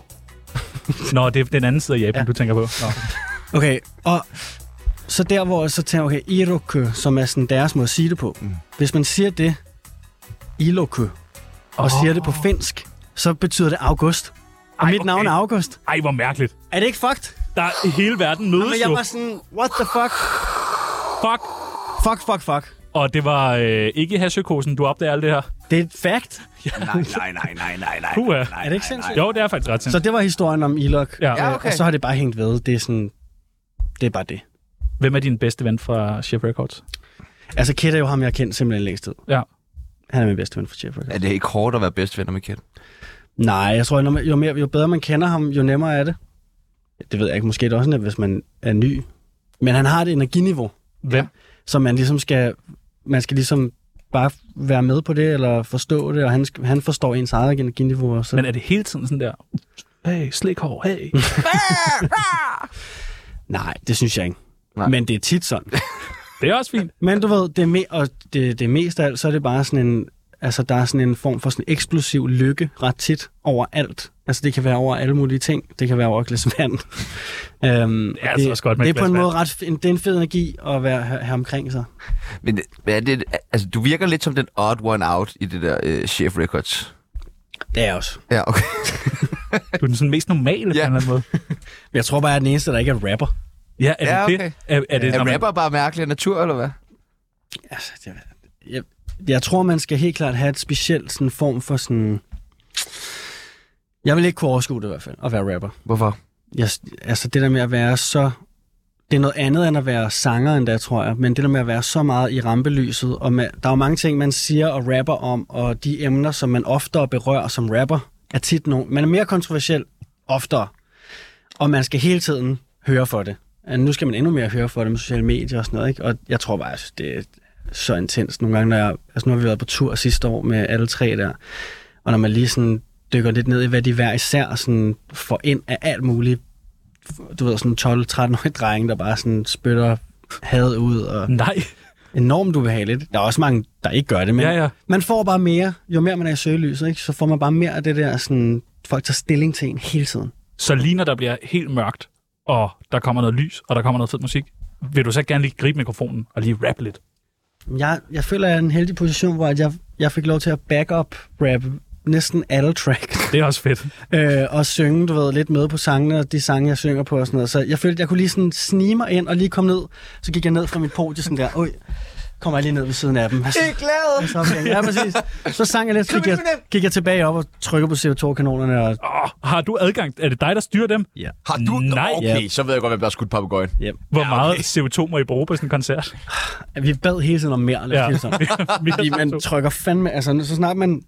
[SPEAKER 2] Nå, det er den anden side af Japan, ja.
[SPEAKER 4] Ja.
[SPEAKER 2] du tænker på. Nå.
[SPEAKER 4] Okay, og så der, hvor jeg så tænker, okay, iroku, som er sådan deres måde at sige det på. Mm. Hvis man siger det, iloku, og oh. siger det på finsk, så betyder det august. Og
[SPEAKER 2] Ej,
[SPEAKER 4] Ej, mit navn
[SPEAKER 2] okay.
[SPEAKER 4] er August.
[SPEAKER 2] Ej, hvor mærkeligt.
[SPEAKER 4] Er det ikke fucked?
[SPEAKER 2] Der er hele verden
[SPEAKER 4] Men
[SPEAKER 2] mødes
[SPEAKER 4] jeg
[SPEAKER 2] jo.
[SPEAKER 4] var sådan, what the fuck?
[SPEAKER 2] Fuck.
[SPEAKER 4] Fuck, fuck, fuck.
[SPEAKER 2] Og det var øh, ikke hashøkosen, du opdagede alt det her.
[SPEAKER 4] Det er et fact.
[SPEAKER 8] Nej, nej, nej, nej, nej, nej.
[SPEAKER 2] Puha.
[SPEAKER 4] Er det ikke sindssygt?
[SPEAKER 2] Jo, det er faktisk ret
[SPEAKER 4] Så
[SPEAKER 2] sindssygt.
[SPEAKER 4] det var historien om ilok.
[SPEAKER 2] Ja.
[SPEAKER 4] Øh,
[SPEAKER 2] Ja,
[SPEAKER 8] okay.
[SPEAKER 4] Og så har det bare hængt ved. Det er sådan... Det er bare det.
[SPEAKER 2] Hvem er din bedste ven fra Chef Records?
[SPEAKER 4] Altså, Kit er jo ham, jeg har kendt simpelthen længst tid.
[SPEAKER 2] Ja.
[SPEAKER 4] Han er min bedste ven for Jeff
[SPEAKER 8] Er det ikke hårdt at være bedstevenner med Kjeld?
[SPEAKER 4] Nej, jeg tror, jo, jo, mere, jo bedre man kender ham, jo nemmere er det. Det ved jeg ikke. Måske er det også nemt, hvis man er ny. Men han har et energiniveau,
[SPEAKER 2] Hvem?
[SPEAKER 4] som man ligesom skal... Man skal ligesom bare være med på det, eller forstå det, og han, sk- han forstår ens eget energiniveau. og Så.
[SPEAKER 2] Men er det hele tiden sådan der, hey, slikhår, hey.
[SPEAKER 4] Nej, det synes jeg ikke.
[SPEAKER 8] Nej.
[SPEAKER 4] Nej. Men det er tit sådan.
[SPEAKER 2] [LAUGHS] det er også fint.
[SPEAKER 4] Men du ved, det, er me- og det, det meste af alt, så er det bare sådan en... Altså, der er sådan en form for sådan eksplosiv lykke ret tit over alt. Altså, det kan være over alle mulige ting. Det kan være over et glas [LAUGHS] vand. øhm,
[SPEAKER 2] er altså også godt med
[SPEAKER 4] det
[SPEAKER 2] et
[SPEAKER 4] er på en
[SPEAKER 2] glas
[SPEAKER 4] måde ret... f- En, det er en fed energi at være her, her omkring sig.
[SPEAKER 8] Men hvad er det, altså, du virker lidt som den odd one out i det der øh, Chef Records.
[SPEAKER 4] Det er jeg også.
[SPEAKER 8] Ja, okay.
[SPEAKER 2] Du er den sådan mest normale
[SPEAKER 8] Ja.
[SPEAKER 2] på en eller anden måde.
[SPEAKER 4] Men jeg tror bare, jeg er den eneste, der ikke er rapper.
[SPEAKER 2] Ja, er det
[SPEAKER 8] Ja,
[SPEAKER 2] ja, okay.
[SPEAKER 8] okay.
[SPEAKER 2] det? Er, er det, når
[SPEAKER 8] Er
[SPEAKER 2] man-
[SPEAKER 8] rapper bare mærkelig af natur, eller hvad?
[SPEAKER 4] Altså, det, jeg, jeg tror, man skal helt klart have et specielt sådan form for sådan... Jeg vil ikke kunne overskue det i hvert fald, at være rapper.
[SPEAKER 8] Hvorfor?
[SPEAKER 4] jeg, altså det der med at være så... Det er noget andet end at være sanger endda, tror jeg. Men det der med at være så meget i rampelyset. Og med, der er jo mange ting, man siger og rapper om, og de emner, som man oftere berører som rapper, er tit nogle... Man er mere kontroversiel oftere. Og man skal hele tiden høre for det. Og Nu skal man endnu mere høre for det med sociale medier og sådan noget. Ikke? Og jeg tror bare, jeg synes, det er så intenst nogle gange, når jeg, altså nu har vi været på tur sidste år med alle tre der, og når man lige sådan dykker lidt ned i, hvad de hver især sådan får ind af alt muligt, du ved, sådan 12-13-årige drenge, der bare sådan spytter had ud, og
[SPEAKER 2] Nej,
[SPEAKER 4] enormt ubehageligt. Der er også mange, der ikke gør det, men
[SPEAKER 2] ja, ja.
[SPEAKER 4] man får bare mere, jo mere man er i søgelyset, ikke? så får man bare mere af det der, sådan, folk tager stilling til en hele tiden.
[SPEAKER 2] Så lige når der bliver helt mørkt, og der kommer noget lys, og der kommer noget fed musik, vil du så gerne lige gribe mikrofonen og lige rappe lidt?
[SPEAKER 4] Jeg, jeg føler, jeg er i en heldig position, hvor at jeg, jeg fik lov til at back up rap næsten alle tracks.
[SPEAKER 2] Det er også fedt.
[SPEAKER 4] [LAUGHS] øh, og synge, du ved, lidt med på sangene, og de sange, jeg synger på og sådan noget. Så jeg følte, jeg kunne lige sådan snige mig ind og lige komme ned. Så gik jeg ned fra mit podie sådan der, øj, kommer jeg lige ned ved siden af dem. Altså,
[SPEAKER 8] glad!
[SPEAKER 4] så, okay. ja, præcis. så sang jeg lidt, så gik jeg, gik jeg tilbage op og trykkede på CO2-kanonerne. Og,
[SPEAKER 2] Oh, har du adgang? Er det dig, der styrer dem?
[SPEAKER 8] Har du... Nå,
[SPEAKER 2] Nej.
[SPEAKER 8] Okay,
[SPEAKER 4] Ja.
[SPEAKER 8] så ved jeg godt, hvem der har skudt papegøjen.
[SPEAKER 2] Hvor ja, okay. meget CO2 må I bruge på sådan en koncert?
[SPEAKER 4] vi bad hele tiden om mere, lad os
[SPEAKER 2] Ja.
[SPEAKER 4] ja. sige
[SPEAKER 2] [LAUGHS]
[SPEAKER 4] det sådan.
[SPEAKER 2] Mere
[SPEAKER 4] Fordi man
[SPEAKER 2] CO2.
[SPEAKER 4] trykker fandme, altså så snart man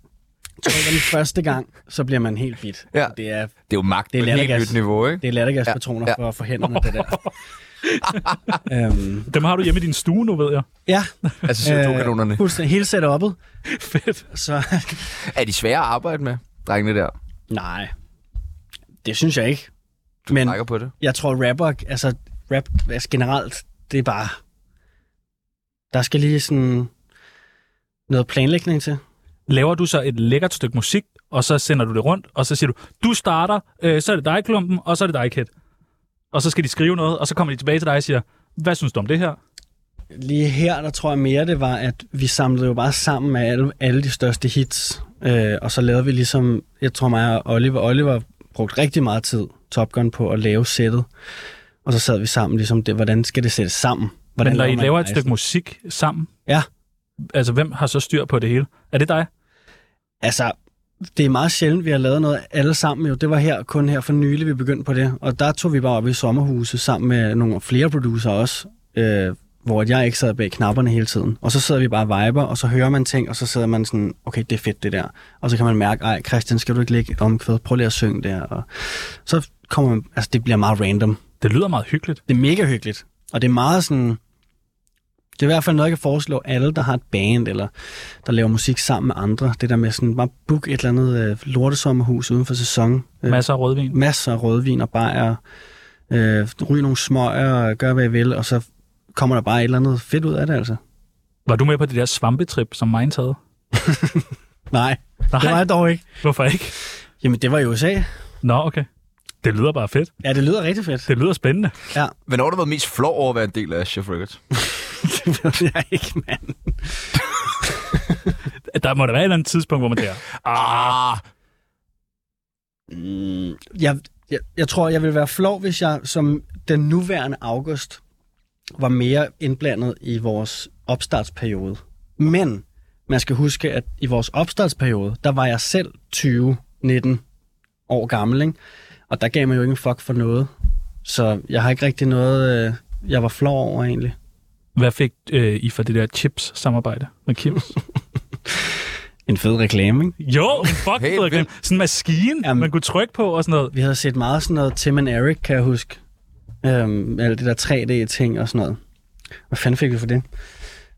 [SPEAKER 4] trykker den første gang, så bliver man helt bit.
[SPEAKER 8] Ja.
[SPEAKER 4] Det er,
[SPEAKER 8] Det er jo magt
[SPEAKER 4] Det er
[SPEAKER 8] på et helt
[SPEAKER 4] lattergas.
[SPEAKER 8] nyt niveau, ikke?
[SPEAKER 4] det er lattergaspatroner
[SPEAKER 8] Ja.
[SPEAKER 4] ja.
[SPEAKER 8] Ja.
[SPEAKER 4] for, for hænderne, det der.
[SPEAKER 8] [LAUGHS]
[SPEAKER 4] øhm,
[SPEAKER 2] Dem har du hjemme i din stue nu, ved jeg.
[SPEAKER 4] ja,
[SPEAKER 8] Altså CO2-kanonerne.
[SPEAKER 4] Øh, fuldstændig hele setup'et.
[SPEAKER 8] [LAUGHS]
[SPEAKER 2] Fedt.
[SPEAKER 4] Så [LAUGHS]
[SPEAKER 8] Øh, Er de svære at arbejde med, drengene der?
[SPEAKER 4] nej, det synes jeg ikke.
[SPEAKER 8] Du
[SPEAKER 4] Men-
[SPEAKER 8] snakker på det.
[SPEAKER 4] Jeg tror, rapper, altså rap altså generelt, det er bare... Der skal lige sådan noget planlægning til.
[SPEAKER 2] Laver du så et lækkert stykke musik, og så sender du det rundt, og så siger du, du starter, øh, så er det dig, Klumpen, og så er det dig, Kæt. Og så skal de skrive noget, og så kommer de tilbage til dig og siger, hvad synes du om det her?
[SPEAKER 4] Lige her, der tror jeg mere, det var, at vi samlede jo bare sammen med alle, alle de største hits. Øh, og så lavede vi ligesom, jeg tror mig og Oliver, Oliver brugte rigtig meget tid, Top Gun, på at lave sættet. Og så sad vi sammen, ligesom det, hvordan skal det sættes sammen? Hvordan
[SPEAKER 2] Men når I
[SPEAKER 4] man
[SPEAKER 2] laver et
[SPEAKER 4] rejsen?
[SPEAKER 2] stykke musik sammen,
[SPEAKER 4] Ja.
[SPEAKER 2] altså hvem har så styr på det hele? Er det dig?
[SPEAKER 4] Altså, det er meget sjældent, vi har lavet noget alle sammen. Jo. Det var her kun her for nylig, vi begyndte på det. Og der tog vi bare op i sommerhuset sammen med nogle flere producer også, øh, hvor jeg ikke sad bag knapperne hele tiden. Og så sidder vi bare og viber, og så hører man ting, og så sidder man sådan, okay, det er fedt det der. Og så kan man mærke, ej Christian, skal du ikke lægge et omkvæd? Prøv lige at synge der. Og så kommer man, altså det bliver meget random.
[SPEAKER 2] Det lyder meget hyggeligt.
[SPEAKER 4] Det er mega hyggeligt. Og det er meget sådan, Det er i hvert fald noget, jeg kan foreslå alle, der har et band, eller der laver musik sammen med andre. Det der med sådan, bare book et eller andet øh, lortesommerhus uden for sæson. Øh,
[SPEAKER 2] Masser af rødvin.
[SPEAKER 4] masser af rødvin og bajer, øh, ryge nogle smøger, gør hvad I vil, og så kommer der bare et eller andet fedt ud af det, altså.
[SPEAKER 2] Var du med på det der svampetrip, som Minds havde?
[SPEAKER 4] Nej, Nej. det var
[SPEAKER 2] Nej,
[SPEAKER 4] jeg dog ikke.
[SPEAKER 2] hvorfor ikke?
[SPEAKER 4] Jamen, det var i USA.
[SPEAKER 2] Nå, okay. Det lyder bare fedt.
[SPEAKER 4] Ja, det lyder rigtig
[SPEAKER 2] [LAUGHS]
[SPEAKER 4] fedt.
[SPEAKER 2] Det lyder spændende.
[SPEAKER 8] Hvornår har du været mest flov over at være en del af Chef Records?
[SPEAKER 4] det ved [LAUGHS] jeg ikke, mand.
[SPEAKER 2] Der må da være et eller andet tidspunkt, hvor man der.
[SPEAKER 8] Ah,
[SPEAKER 4] Jeg, jeg, jeg tror, jeg ville være flov, hvis jeg som den nuværende august var mere indblandet i vores opstartsperiode. Men man skal huske, at i vores opstartsperiode, der var jeg selv 20, 19 år gammel, ikke? og der gav man jo ikke en fuck for noget. Så jeg har ikke rigtig noget, øh, jeg var flov over egentlig.
[SPEAKER 2] Hvad fik øh, I for det der chips-samarbejde med Kims?
[SPEAKER 4] En fed reklame, ikke?
[SPEAKER 2] jo, en fucking
[SPEAKER 8] Helt
[SPEAKER 2] hey, reklame. Sådan en maskine,
[SPEAKER 4] Jamen.
[SPEAKER 2] man kunne trykke på og sådan noget.
[SPEAKER 4] Vi havde set meget sådan noget Tim and Eric, kan jeg huske. Øhm, alle det der 3D-ting og sådan noget. Hvad fanden fik vi for det?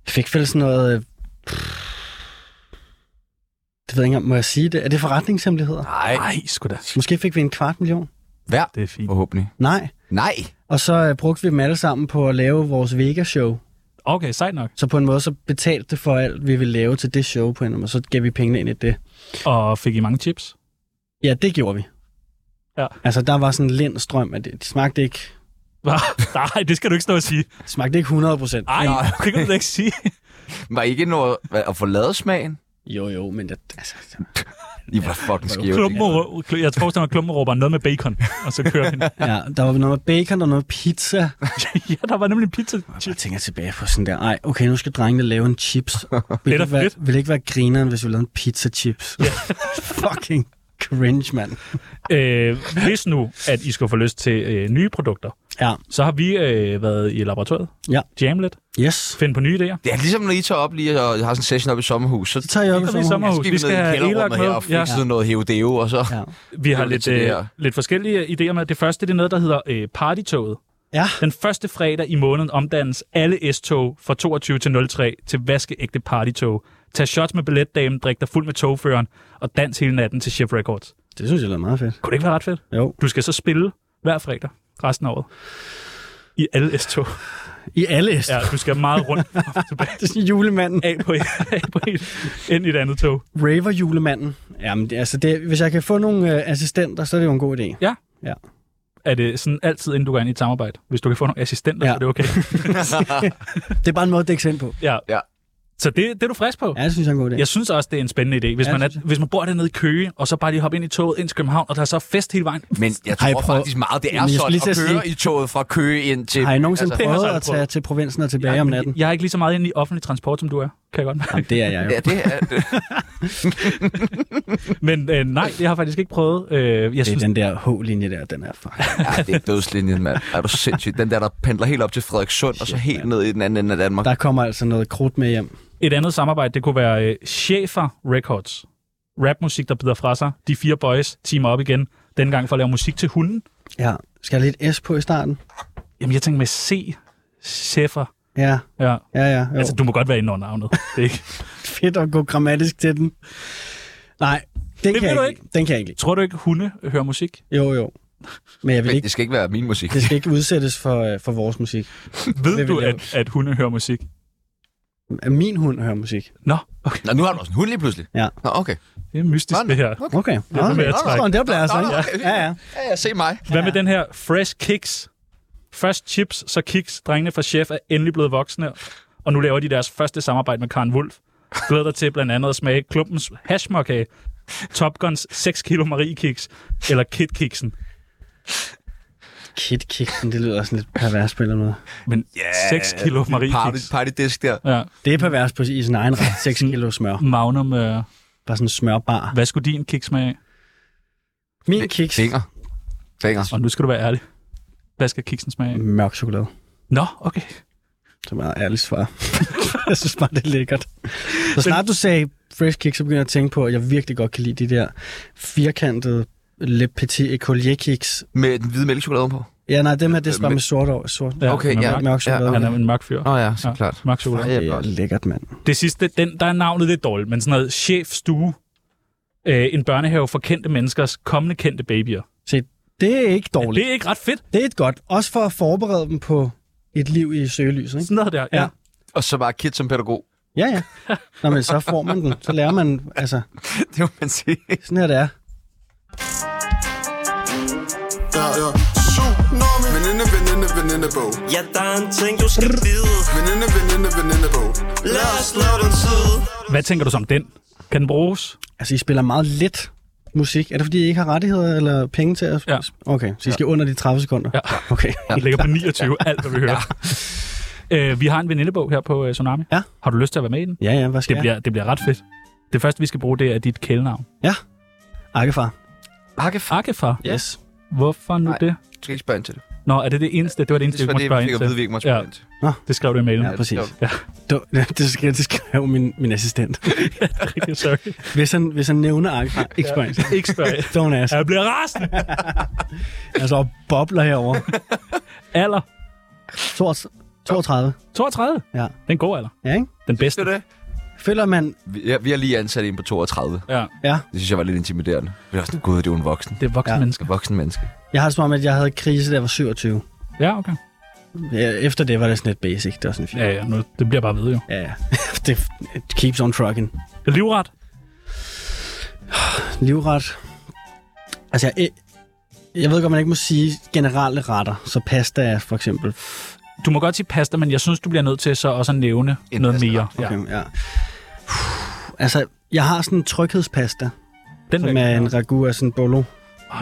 [SPEAKER 4] Vi fik vel sådan noget... øh, pff, Det ved jeg ikke om, må jeg sige det? Er det forretningshemmeligheder?
[SPEAKER 8] nej.
[SPEAKER 2] Nej, sgu da.
[SPEAKER 4] Måske fik vi en kvart million?
[SPEAKER 8] Hver,
[SPEAKER 2] Det er fint.
[SPEAKER 8] forhåbentlig.
[SPEAKER 4] Nej.
[SPEAKER 8] Nej.
[SPEAKER 4] Og så øh, brugte vi dem alle sammen på at lave vores Vega-show.
[SPEAKER 2] Okay, sejt nok.
[SPEAKER 4] Så på en måde, så betalte det for alt, vi ville lave til det show på en eller anden måde. Så gav vi pengene ind i det.
[SPEAKER 2] Og fik I mange chips?
[SPEAKER 4] Ja, det gjorde vi.
[SPEAKER 2] Ja.
[SPEAKER 4] Altså, der var sådan en lind strøm af det. De smagte ikke,
[SPEAKER 2] [LAUGHS] Nej, det skal du ikke stå og sige.
[SPEAKER 4] de smagte ikke 100 procent.
[SPEAKER 2] Ej, det kan du da ikke
[SPEAKER 8] [LAUGHS]
[SPEAKER 2] sige.
[SPEAKER 8] Var I ikke noget hvad, at få lavet smagen?
[SPEAKER 4] Jo, jo, men det, altså,
[SPEAKER 8] I var fucking skæve.
[SPEAKER 2] Klumpen, rå- jeg forestiller mig, at klumpen råber noget med bacon, og så
[SPEAKER 8] [LAUGHS]
[SPEAKER 2] kører vi.
[SPEAKER 4] [LAUGHS] Ja, der var noget med bacon og noget pizza. Og
[SPEAKER 2] ja, der var nemlig en pizza.
[SPEAKER 4] jeg tænker tilbage på sådan der, ej, okay, nu skal drengene lave en [LAUGHS] chips. Vil
[SPEAKER 2] da
[SPEAKER 4] ikke være,
[SPEAKER 2] fedt.
[SPEAKER 4] vil ikke være grineren, hvis vi lavede en pizza chips? [LAUGHS] Fucking cringe, mand.
[SPEAKER 2] Øh, hvis nu, at I skulle få lyst til øh, nye produkter,
[SPEAKER 4] Ja,
[SPEAKER 2] så har vi øh, været i laboratoriet.
[SPEAKER 4] Ja.
[SPEAKER 2] Jamlet.
[SPEAKER 4] yes.
[SPEAKER 2] Finde på nye idéer.
[SPEAKER 8] Det er ligesom, når I tager op lige og har sådan en session op i sommerhus, så
[SPEAKER 4] Så tager jeg op i
[SPEAKER 2] Så er vi i sommerhus.
[SPEAKER 4] sommerhus.
[SPEAKER 8] skal vi,
[SPEAKER 2] Vi skal
[SPEAKER 8] ned i
[SPEAKER 2] have Elak
[SPEAKER 8] kælderrummet her og
[SPEAKER 2] med.
[SPEAKER 8] fikse
[SPEAKER 2] Ja.
[SPEAKER 8] ja. noget hevdeo, og så...
[SPEAKER 4] Ja.
[SPEAKER 2] Vi
[SPEAKER 8] Det er
[SPEAKER 2] har lidt,
[SPEAKER 8] lidt til det
[SPEAKER 2] øh,
[SPEAKER 8] her.
[SPEAKER 2] lidt forskellige idéer med. Det første det er noget, der hedder øh, Partytoget.
[SPEAKER 4] ja,
[SPEAKER 2] Den første fredag i måneden omdannes alle S-tog fra 22 til 03 til vaskeægte partytog. Tag shots med billetdamen, drik dig fuld med togføreren og dans hele natten til Chef Records.
[SPEAKER 4] det synes jeg lyder meget fedt.
[SPEAKER 2] Kunne det ikke være ret fedt?
[SPEAKER 4] Jo.
[SPEAKER 2] Du skal så spille hver fredag resten af året. I alle S-tog.
[SPEAKER 4] I alle æst.
[SPEAKER 2] Ja,
[SPEAKER 4] Ja.
[SPEAKER 2] du skal meget rundt og [LAUGHS] tilbage.
[SPEAKER 4] Det er sådan julemanden.
[SPEAKER 2] Af på, af på et, ind i et andet tog.
[SPEAKER 4] Raver julemanden. Jamen, det, altså, det, hvis jeg kan få nogle øh, assistenter, så er det jo en god idé.
[SPEAKER 2] Er det sådan altid, inden du går ind i et samarbejde? Hvis du kan få nogle assistenter, ja.
[SPEAKER 4] Ja.
[SPEAKER 2] så er det okay.
[SPEAKER 4] Det er bare en måde at dække sig ind på.
[SPEAKER 2] Ja.
[SPEAKER 8] Ja.
[SPEAKER 2] Så det, det er du frisk på?
[SPEAKER 4] Ja, det synes jeg er en god idé.
[SPEAKER 2] Jeg synes også, det er en spændende idé. Hvis,
[SPEAKER 4] Ja,
[SPEAKER 2] man,
[SPEAKER 4] det
[SPEAKER 2] er,
[SPEAKER 4] synes
[SPEAKER 2] hvis man bor dernede i Køge, og så bare lige hoppe ind i toget ind til København, og der er så fest hele vejen.
[SPEAKER 8] Men jeg tror
[SPEAKER 4] Har I prøvet-
[SPEAKER 8] faktisk meget, det
[SPEAKER 4] Jamen,
[SPEAKER 8] er
[SPEAKER 4] jeg skulle
[SPEAKER 8] sådan
[SPEAKER 4] lige til
[SPEAKER 8] at
[SPEAKER 4] at
[SPEAKER 8] køre
[SPEAKER 4] sige-
[SPEAKER 8] i toget fra Køge ind til...
[SPEAKER 4] Har I nogensinde
[SPEAKER 8] Altså,
[SPEAKER 2] det har jeg
[SPEAKER 4] prøvet
[SPEAKER 2] så
[SPEAKER 4] at
[SPEAKER 2] prøvet.
[SPEAKER 4] tage til provinsen og tilbage om natten?
[SPEAKER 2] Jeg er ikke lige så meget inde i offentlig transport, som du er. Kan jeg godt mærke.
[SPEAKER 4] Jamen, det er jeg jo.
[SPEAKER 8] Ja, det er...
[SPEAKER 2] Men øh, nej, det har jeg faktisk ikke prøvet. Øh, jeg
[SPEAKER 4] Det er
[SPEAKER 2] synes,
[SPEAKER 4] den der H-linje der, den er fucking...
[SPEAKER 8] Ja, det er dødslinjen, mand. Er du sindssygt? Den der, der pendler helt op til Frederikssund, og så helt ned i den anden ende af Danmark.
[SPEAKER 4] Der kommer altså noget krudt med hjem.
[SPEAKER 2] et andet samarbejde, det kunne være øh, Chefer Records. Rapmusik, der bider fra sig. De fire boys teamer op igen. Dengang for at lave musik til hunden.
[SPEAKER 4] Ja. Skal jeg lidt S på i starten?
[SPEAKER 2] Jamen, jeg tænker med C. Chefer.
[SPEAKER 4] Ja,
[SPEAKER 2] Ja.
[SPEAKER 4] ja, ja. Jo.
[SPEAKER 2] Altså,
[SPEAKER 4] Altså,
[SPEAKER 2] du må godt være inde under navnet. Det er ikke.
[SPEAKER 4] fedt at gå grammatisk til den. Nej, den,
[SPEAKER 2] Det
[SPEAKER 4] kan,
[SPEAKER 2] vil du
[SPEAKER 4] jeg ikke. lide. den kan jeg ikke lide.
[SPEAKER 2] Tror du ikke, hunde hører musik?
[SPEAKER 4] Jo, jo. Men jeg vil
[SPEAKER 8] Men
[SPEAKER 4] ikke,
[SPEAKER 8] det skal ikke være min musik.
[SPEAKER 4] det skal ikke udsættes for, øh, for vores musik.
[SPEAKER 2] Ved
[SPEAKER 4] vil
[SPEAKER 2] du,
[SPEAKER 4] jeg
[SPEAKER 2] at, at hunde hører musik?
[SPEAKER 4] At Min hund hører musik.
[SPEAKER 2] Nå, okay.
[SPEAKER 8] Nå, nu har du også en hund lige pludselig.
[SPEAKER 4] Ja.
[SPEAKER 8] Nå, okay.
[SPEAKER 2] Det er mystisk,
[SPEAKER 8] Nå, nå.
[SPEAKER 2] det her.
[SPEAKER 4] Okay. Nå,
[SPEAKER 2] noget med at
[SPEAKER 4] nå,
[SPEAKER 2] trække.
[SPEAKER 4] nå, der bliver
[SPEAKER 8] Nå, nå,
[SPEAKER 4] sådan.
[SPEAKER 8] okay.
[SPEAKER 4] Ja, ja.
[SPEAKER 8] Ja, ja, se mig.
[SPEAKER 2] Hvad med den her Fresh Kicks? Først chips, så kicks. Drengene fra Chef er endelig blevet voksne, og nu laver de deres første samarbejde med Karen Wolf. Glæder dig til blandt andet at smage klumpens hashmokage, Top Guns 6 kilo Marie Kiks eller Kid Kiksen.
[SPEAKER 4] Kid Kiksen, det lyder sådan lidt pervers på en eller anden måde.
[SPEAKER 2] Men yeah, 6 kilo Marie
[SPEAKER 8] Party,
[SPEAKER 2] Kiks.
[SPEAKER 8] partydisk der.
[SPEAKER 2] Ja,
[SPEAKER 4] Det er pervers på i sin egen ret. [LAUGHS] 6 kilo smør.
[SPEAKER 2] Magnum, øh,
[SPEAKER 4] Bare sådan en smørbar.
[SPEAKER 2] hvad skulle din kiks smage af?
[SPEAKER 4] Min kiks.
[SPEAKER 8] Finger. Finger.
[SPEAKER 2] Og nu skal du være ærlig. Hvad skal kiksen smage af?
[SPEAKER 4] Mørk chokolade.
[SPEAKER 2] Nå, okay.
[SPEAKER 4] Det er meget ærligt svar. [LAUGHS] jeg synes bare, det er lækkert. Så snart du sagde fresh kick, så begynder jeg at tænke på, at jeg virkelig godt kan lide de der firkantede Le Petit Ecolier kiks.
[SPEAKER 8] Med den hvide mælkechokolade på.
[SPEAKER 4] Ja, nej, dem her, det er bare
[SPEAKER 1] Men-
[SPEAKER 4] med sort over. Sort.
[SPEAKER 2] Ja,
[SPEAKER 1] Okay,
[SPEAKER 2] han er
[SPEAKER 1] ja.
[SPEAKER 2] mørk.
[SPEAKER 4] Mørk chokolade.
[SPEAKER 2] Han er en mørk fyr.
[SPEAKER 1] Nå ja, så
[SPEAKER 2] Ja.
[SPEAKER 1] klart.
[SPEAKER 2] Mørk chokolade.
[SPEAKER 1] Ej,
[SPEAKER 4] Det er lækkert, mand.
[SPEAKER 2] Det sidste, den, der er navnet lidt dårligt, men sådan noget chefstue. Øh, en børnehave for kendte menneskers kommende kendte babyer.
[SPEAKER 4] Se, det er ikke dårligt.
[SPEAKER 2] Det er ikke ret fedt,
[SPEAKER 4] Det er et godt. Også for at forberede dem på et liv i søgelyset, ikke?
[SPEAKER 2] sådan noget der. Ja.
[SPEAKER 4] Ja.
[SPEAKER 1] Og så bare Kit
[SPEAKER 8] [LAUGHS]
[SPEAKER 1] som pædagog.
[SPEAKER 4] Ja, ja. Nå, men så får man den. Så lærer man, altså,
[SPEAKER 1] Det må man sige.
[SPEAKER 4] sådan her det er.
[SPEAKER 6] Ja, ja. Tsunami. Veninde, veninde, venindebog.
[SPEAKER 10] Ja, der er en ting, du skal vide
[SPEAKER 6] Veninde, veninde, venindebog.
[SPEAKER 10] Lad os lave den tid
[SPEAKER 2] Hvad tænker du så om den? Kan den bruges?
[SPEAKER 4] Altså, I spiller meget let musik. Er det, fordi I ikke har rettigheder eller penge til at...
[SPEAKER 2] Ja.
[SPEAKER 4] Okay, så I skal under de 30 sekunder?
[SPEAKER 2] Ja.
[SPEAKER 4] Okay.
[SPEAKER 2] Den ligger på 29, alt hvad vi hører. Øh, vi har en venindebog her på øh, Tsunami.
[SPEAKER 4] Ja.
[SPEAKER 2] Har du lyst til at være med i den?
[SPEAKER 4] Ja, ja, hvad skal
[SPEAKER 2] Det, bliver, det bliver ret fedt. Det første, vi skal bruge, det er dit kælenavn.
[SPEAKER 4] jeg? Ja. Akkefar.
[SPEAKER 1] Hakkefar.
[SPEAKER 2] Akkefar.
[SPEAKER 1] Ja.
[SPEAKER 4] Yes.
[SPEAKER 2] Hvorfor nu
[SPEAKER 1] Nej.
[SPEAKER 2] det?
[SPEAKER 1] Jeg skal ikke spørge ind til det.
[SPEAKER 2] Nå, er det det eneste? Det var det eneste,
[SPEAKER 1] Det
[SPEAKER 2] vi
[SPEAKER 1] var
[SPEAKER 2] måtte
[SPEAKER 1] det, vi
[SPEAKER 2] spørge
[SPEAKER 1] fik
[SPEAKER 2] ind
[SPEAKER 1] at vide,
[SPEAKER 2] til.
[SPEAKER 1] vi ikke måtte spørge
[SPEAKER 2] Ja.
[SPEAKER 1] ind til.
[SPEAKER 2] Det skrev du i mailen.
[SPEAKER 4] Ja,
[SPEAKER 2] [LAUGHS]
[SPEAKER 4] præcis.
[SPEAKER 2] Ja.
[SPEAKER 4] [LAUGHS] Du, det, skrev, det skrev min, min assistent.
[SPEAKER 2] Sorry.
[SPEAKER 4] Hvis han, hvis han nævner Akkefar, ikke spørg ja.
[SPEAKER 2] Ikke spørg.
[SPEAKER 4] Don't ask.
[SPEAKER 2] Jeg bliver
[SPEAKER 1] [LAUGHS]
[SPEAKER 2] rasende.
[SPEAKER 4] Altså, og bobler herovre.
[SPEAKER 2] Alder?
[SPEAKER 4] 32.
[SPEAKER 2] 32?
[SPEAKER 4] Ja.
[SPEAKER 2] Den gode alder.
[SPEAKER 4] Ja, ikke?
[SPEAKER 2] Den bedste.
[SPEAKER 1] Det er det.
[SPEAKER 4] Føler man...
[SPEAKER 1] Vi, ja, vi har lige ansat en på 32.
[SPEAKER 2] Ja.
[SPEAKER 4] Ja.
[SPEAKER 1] Det synes jeg var lidt intimiderende. Vi var sådan, gud, det er jo en voksen.
[SPEAKER 2] Det er voksne ja.
[SPEAKER 4] Ja.
[SPEAKER 2] mennesker.
[SPEAKER 1] En voksen menneske.
[SPEAKER 4] Jeg har det som om, at jeg havde krise, da jeg var 27.
[SPEAKER 2] Ja, okay.
[SPEAKER 4] Ja, Efter det var det sådan lidt basic. Det var sådan fint.
[SPEAKER 2] Ja, ja. Nu, det bliver bare ved, jo.
[SPEAKER 4] Ja, [LAUGHS] ja. det it keeps on trucking.
[SPEAKER 2] Livret?
[SPEAKER 4] Livret. Altså, jeg, jeg ved godt, man ikke må sige generelle retter. Så pasta er for eksempel.
[SPEAKER 2] Du må godt sige pasta, men jeg synes, du bliver nødt til så også at nævne
[SPEAKER 1] En
[SPEAKER 2] noget
[SPEAKER 1] pasta.
[SPEAKER 2] mere. Ja.
[SPEAKER 4] Okay, ja. Altså, jeg har sådan en tryghedspasta,
[SPEAKER 2] Den
[SPEAKER 4] som er en ragu af sådan en bolo,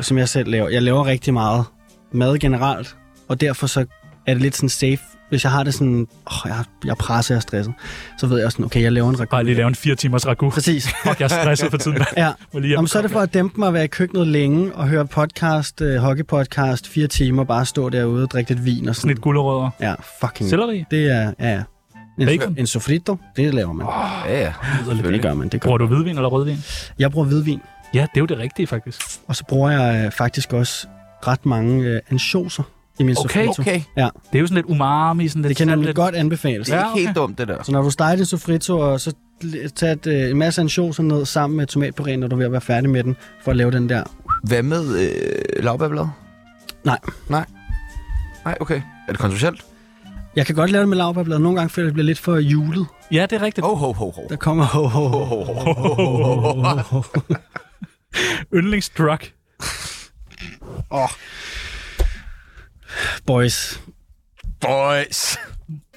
[SPEAKER 4] som jeg selv laver. Jeg laver rigtig meget mad generelt, og derfor så er det lidt sådan safe. Hvis jeg har det sådan, åh, oh, jeg, jeg er presset, jeg er stresset, så ved jeg sådan, okay, jeg laver en ragu.
[SPEAKER 2] Bare lige lave en fire timers ragu.
[SPEAKER 4] Præcis.
[SPEAKER 2] Fuck, jeg er stresset for
[SPEAKER 4] [LAUGHS]
[SPEAKER 2] tiden.
[SPEAKER 4] Ja.
[SPEAKER 2] Må [LAUGHS] lige hjem.
[SPEAKER 4] Jamen, så er det for at dæmpe mig at være i køkkenet længe og høre podcast, øh, hockeypodcast, fire timer, bare stå derude og drikke lidt vin og sådan
[SPEAKER 2] Snit gulerødder.
[SPEAKER 4] Ja, fucking.
[SPEAKER 2] Selleri?
[SPEAKER 4] Det er, ja, ja. En,
[SPEAKER 2] Bacon?
[SPEAKER 4] en sofrito, det laver man. Oh,
[SPEAKER 1] Ja, ja.
[SPEAKER 4] det gør man, det gør
[SPEAKER 2] Bruger du hvidvin eller rødvin?
[SPEAKER 4] Jeg bruger hvidvin,
[SPEAKER 2] Ja, det er jo det rigtige, faktisk.
[SPEAKER 4] og så bruger jeg øh, faktisk også ret mange øh, ansjoser i min
[SPEAKER 2] Okay,
[SPEAKER 4] sofrito.
[SPEAKER 1] Okay.
[SPEAKER 2] Det er jo sådan lidt umami, sådan lidt...
[SPEAKER 4] Det kan
[SPEAKER 2] sådan
[SPEAKER 4] nemlig
[SPEAKER 2] lidt...
[SPEAKER 4] godt anbefales.
[SPEAKER 1] Det er
[SPEAKER 2] Ja,
[SPEAKER 1] ja, ikke helt dumt, det der.
[SPEAKER 4] Så når du steger din sofrito, og så l- tag et, øh, en masse ansjoser ned sammen med tomatpuré, når du er ved at være færdig med den, for at lave den der.
[SPEAKER 1] Hvad med øh, lavbærblad?
[SPEAKER 4] Nej.
[SPEAKER 1] Nej. Nej, okay. Er det kontroversielt?
[SPEAKER 4] Jeg kan godt lave det med lavbærblad. Nogle gange føler jeg, det bliver lidt for julet.
[SPEAKER 2] Ja, det er rigtigt.
[SPEAKER 1] Ho, ho, ho, ho.
[SPEAKER 4] Der kommer ho, ho, ho, ho, ho, ho, ho.
[SPEAKER 2] Yndlingsdrug.
[SPEAKER 4] [LAUGHS] Boys,
[SPEAKER 1] Boys.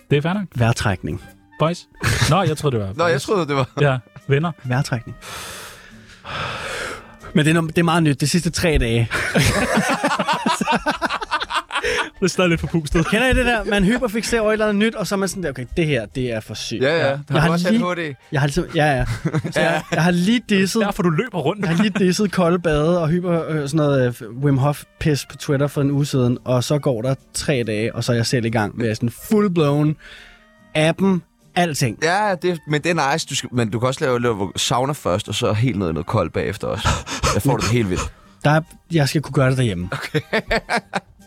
[SPEAKER 2] Det er fair nok.
[SPEAKER 4] værtrækning.
[SPEAKER 2] Boys. Nå, jeg troede, det var...
[SPEAKER 1] Nå, jeg troede, det var...
[SPEAKER 2] Ja, venner.
[SPEAKER 4] Værtrækning. Men det er, no- det er meget nyt. De sidste tre dage.
[SPEAKER 2] Det er stadig lidt forpustet.
[SPEAKER 4] Kender I det der? Man hyperfixerer over et eller andet nyt, og så er man sådan der, okay, det her, det er for sygt.
[SPEAKER 1] Ja, ja. Der
[SPEAKER 4] Jeg
[SPEAKER 1] har
[SPEAKER 4] har,
[SPEAKER 1] også
[SPEAKER 4] lige,
[SPEAKER 1] ADHD.
[SPEAKER 4] jeg har, ligesom, ja, ja. Så jeg, jeg har lige disset,
[SPEAKER 2] Derfor du løber rundt.
[SPEAKER 4] jeg har lige disset kolde bade og hyper, øh, sådan noget øh, Wim Hof-pis på Twitter for en uge siden, og så går der tre dage, og så er jeg selv i gang med sådan full-blown appen, alting.
[SPEAKER 1] Ja, det, men det er nice. Du skal, men du kan også lave, lave sauna først, og så helt ned i noget koldt bagefter også. Der får du det helt vildt.
[SPEAKER 4] Der er, jeg skal kunne gøre det derhjemme. Okay. [LAUGHS]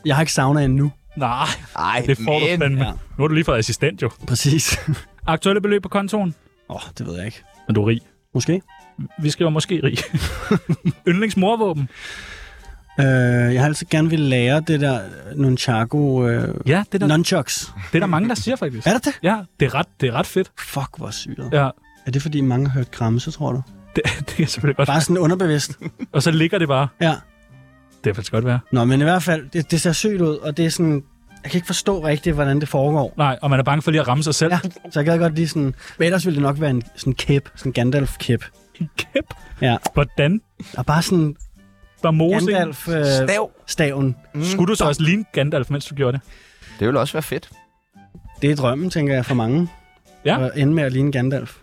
[SPEAKER 4] jeg har ikke sauna endnu.
[SPEAKER 2] Nej,
[SPEAKER 1] Ej,
[SPEAKER 2] det får du
[SPEAKER 1] men...
[SPEAKER 2] fandme.
[SPEAKER 4] Ja.
[SPEAKER 2] Nu har du lige fået assistent, jo.
[SPEAKER 4] Præcis. [LAUGHS]
[SPEAKER 2] Aktuelle beløb på kontoen?
[SPEAKER 4] Åh, oh, det ved jeg ikke.
[SPEAKER 2] Men du er rig.
[SPEAKER 4] Måske.
[SPEAKER 2] Vi skriver måske [LAUGHS] rig. Yndlingsmorvåben?
[SPEAKER 4] Øh, jeg har altid gerne ville lære det der nunchaku... Øh,
[SPEAKER 2] Ja, det er, der,
[SPEAKER 4] nunchucks.
[SPEAKER 2] det er der mange, der siger faktisk.
[SPEAKER 4] Er det det?
[SPEAKER 2] Ja, det er ret, det er ret fedt.
[SPEAKER 4] Fuck, hvor syret. Ja.
[SPEAKER 2] Ja, [LAUGHS]
[SPEAKER 4] Er det, fordi mange har hørt kramse, tror [LAUGHS] du?
[SPEAKER 2] det, det er selvfølgelig godt.
[SPEAKER 4] Bare sådan underbevidst.
[SPEAKER 2] Og så ligger det bare.
[SPEAKER 4] Ja.
[SPEAKER 2] Det kan faktisk godt være.
[SPEAKER 4] Nå, men i hvert fald, det, det ser sygt ud, og det er sådan... Jeg kan ikke forstå rigtigt, hvordan det foregår.
[SPEAKER 2] Nej, og man er bange for lige at ramme sig selv.
[SPEAKER 4] Ja, så jeg gad godt lige sådan... Men ellers ville det nok være en sådan kæp, sådan en Gandalf-kæp.
[SPEAKER 2] Kæp.
[SPEAKER 4] Ja,
[SPEAKER 2] Hvordan?
[SPEAKER 4] og bare sådan
[SPEAKER 2] Der er mosing.
[SPEAKER 4] Gandalf-staven.
[SPEAKER 1] Stav.
[SPEAKER 2] Mm. Skulle du så også ligne Gandalf, mens du gjorde det?
[SPEAKER 1] Det ville også være fedt.
[SPEAKER 4] det er drømmen, tænker jeg, for mange.
[SPEAKER 2] Ja.
[SPEAKER 4] At ende med at ligne Gandalf.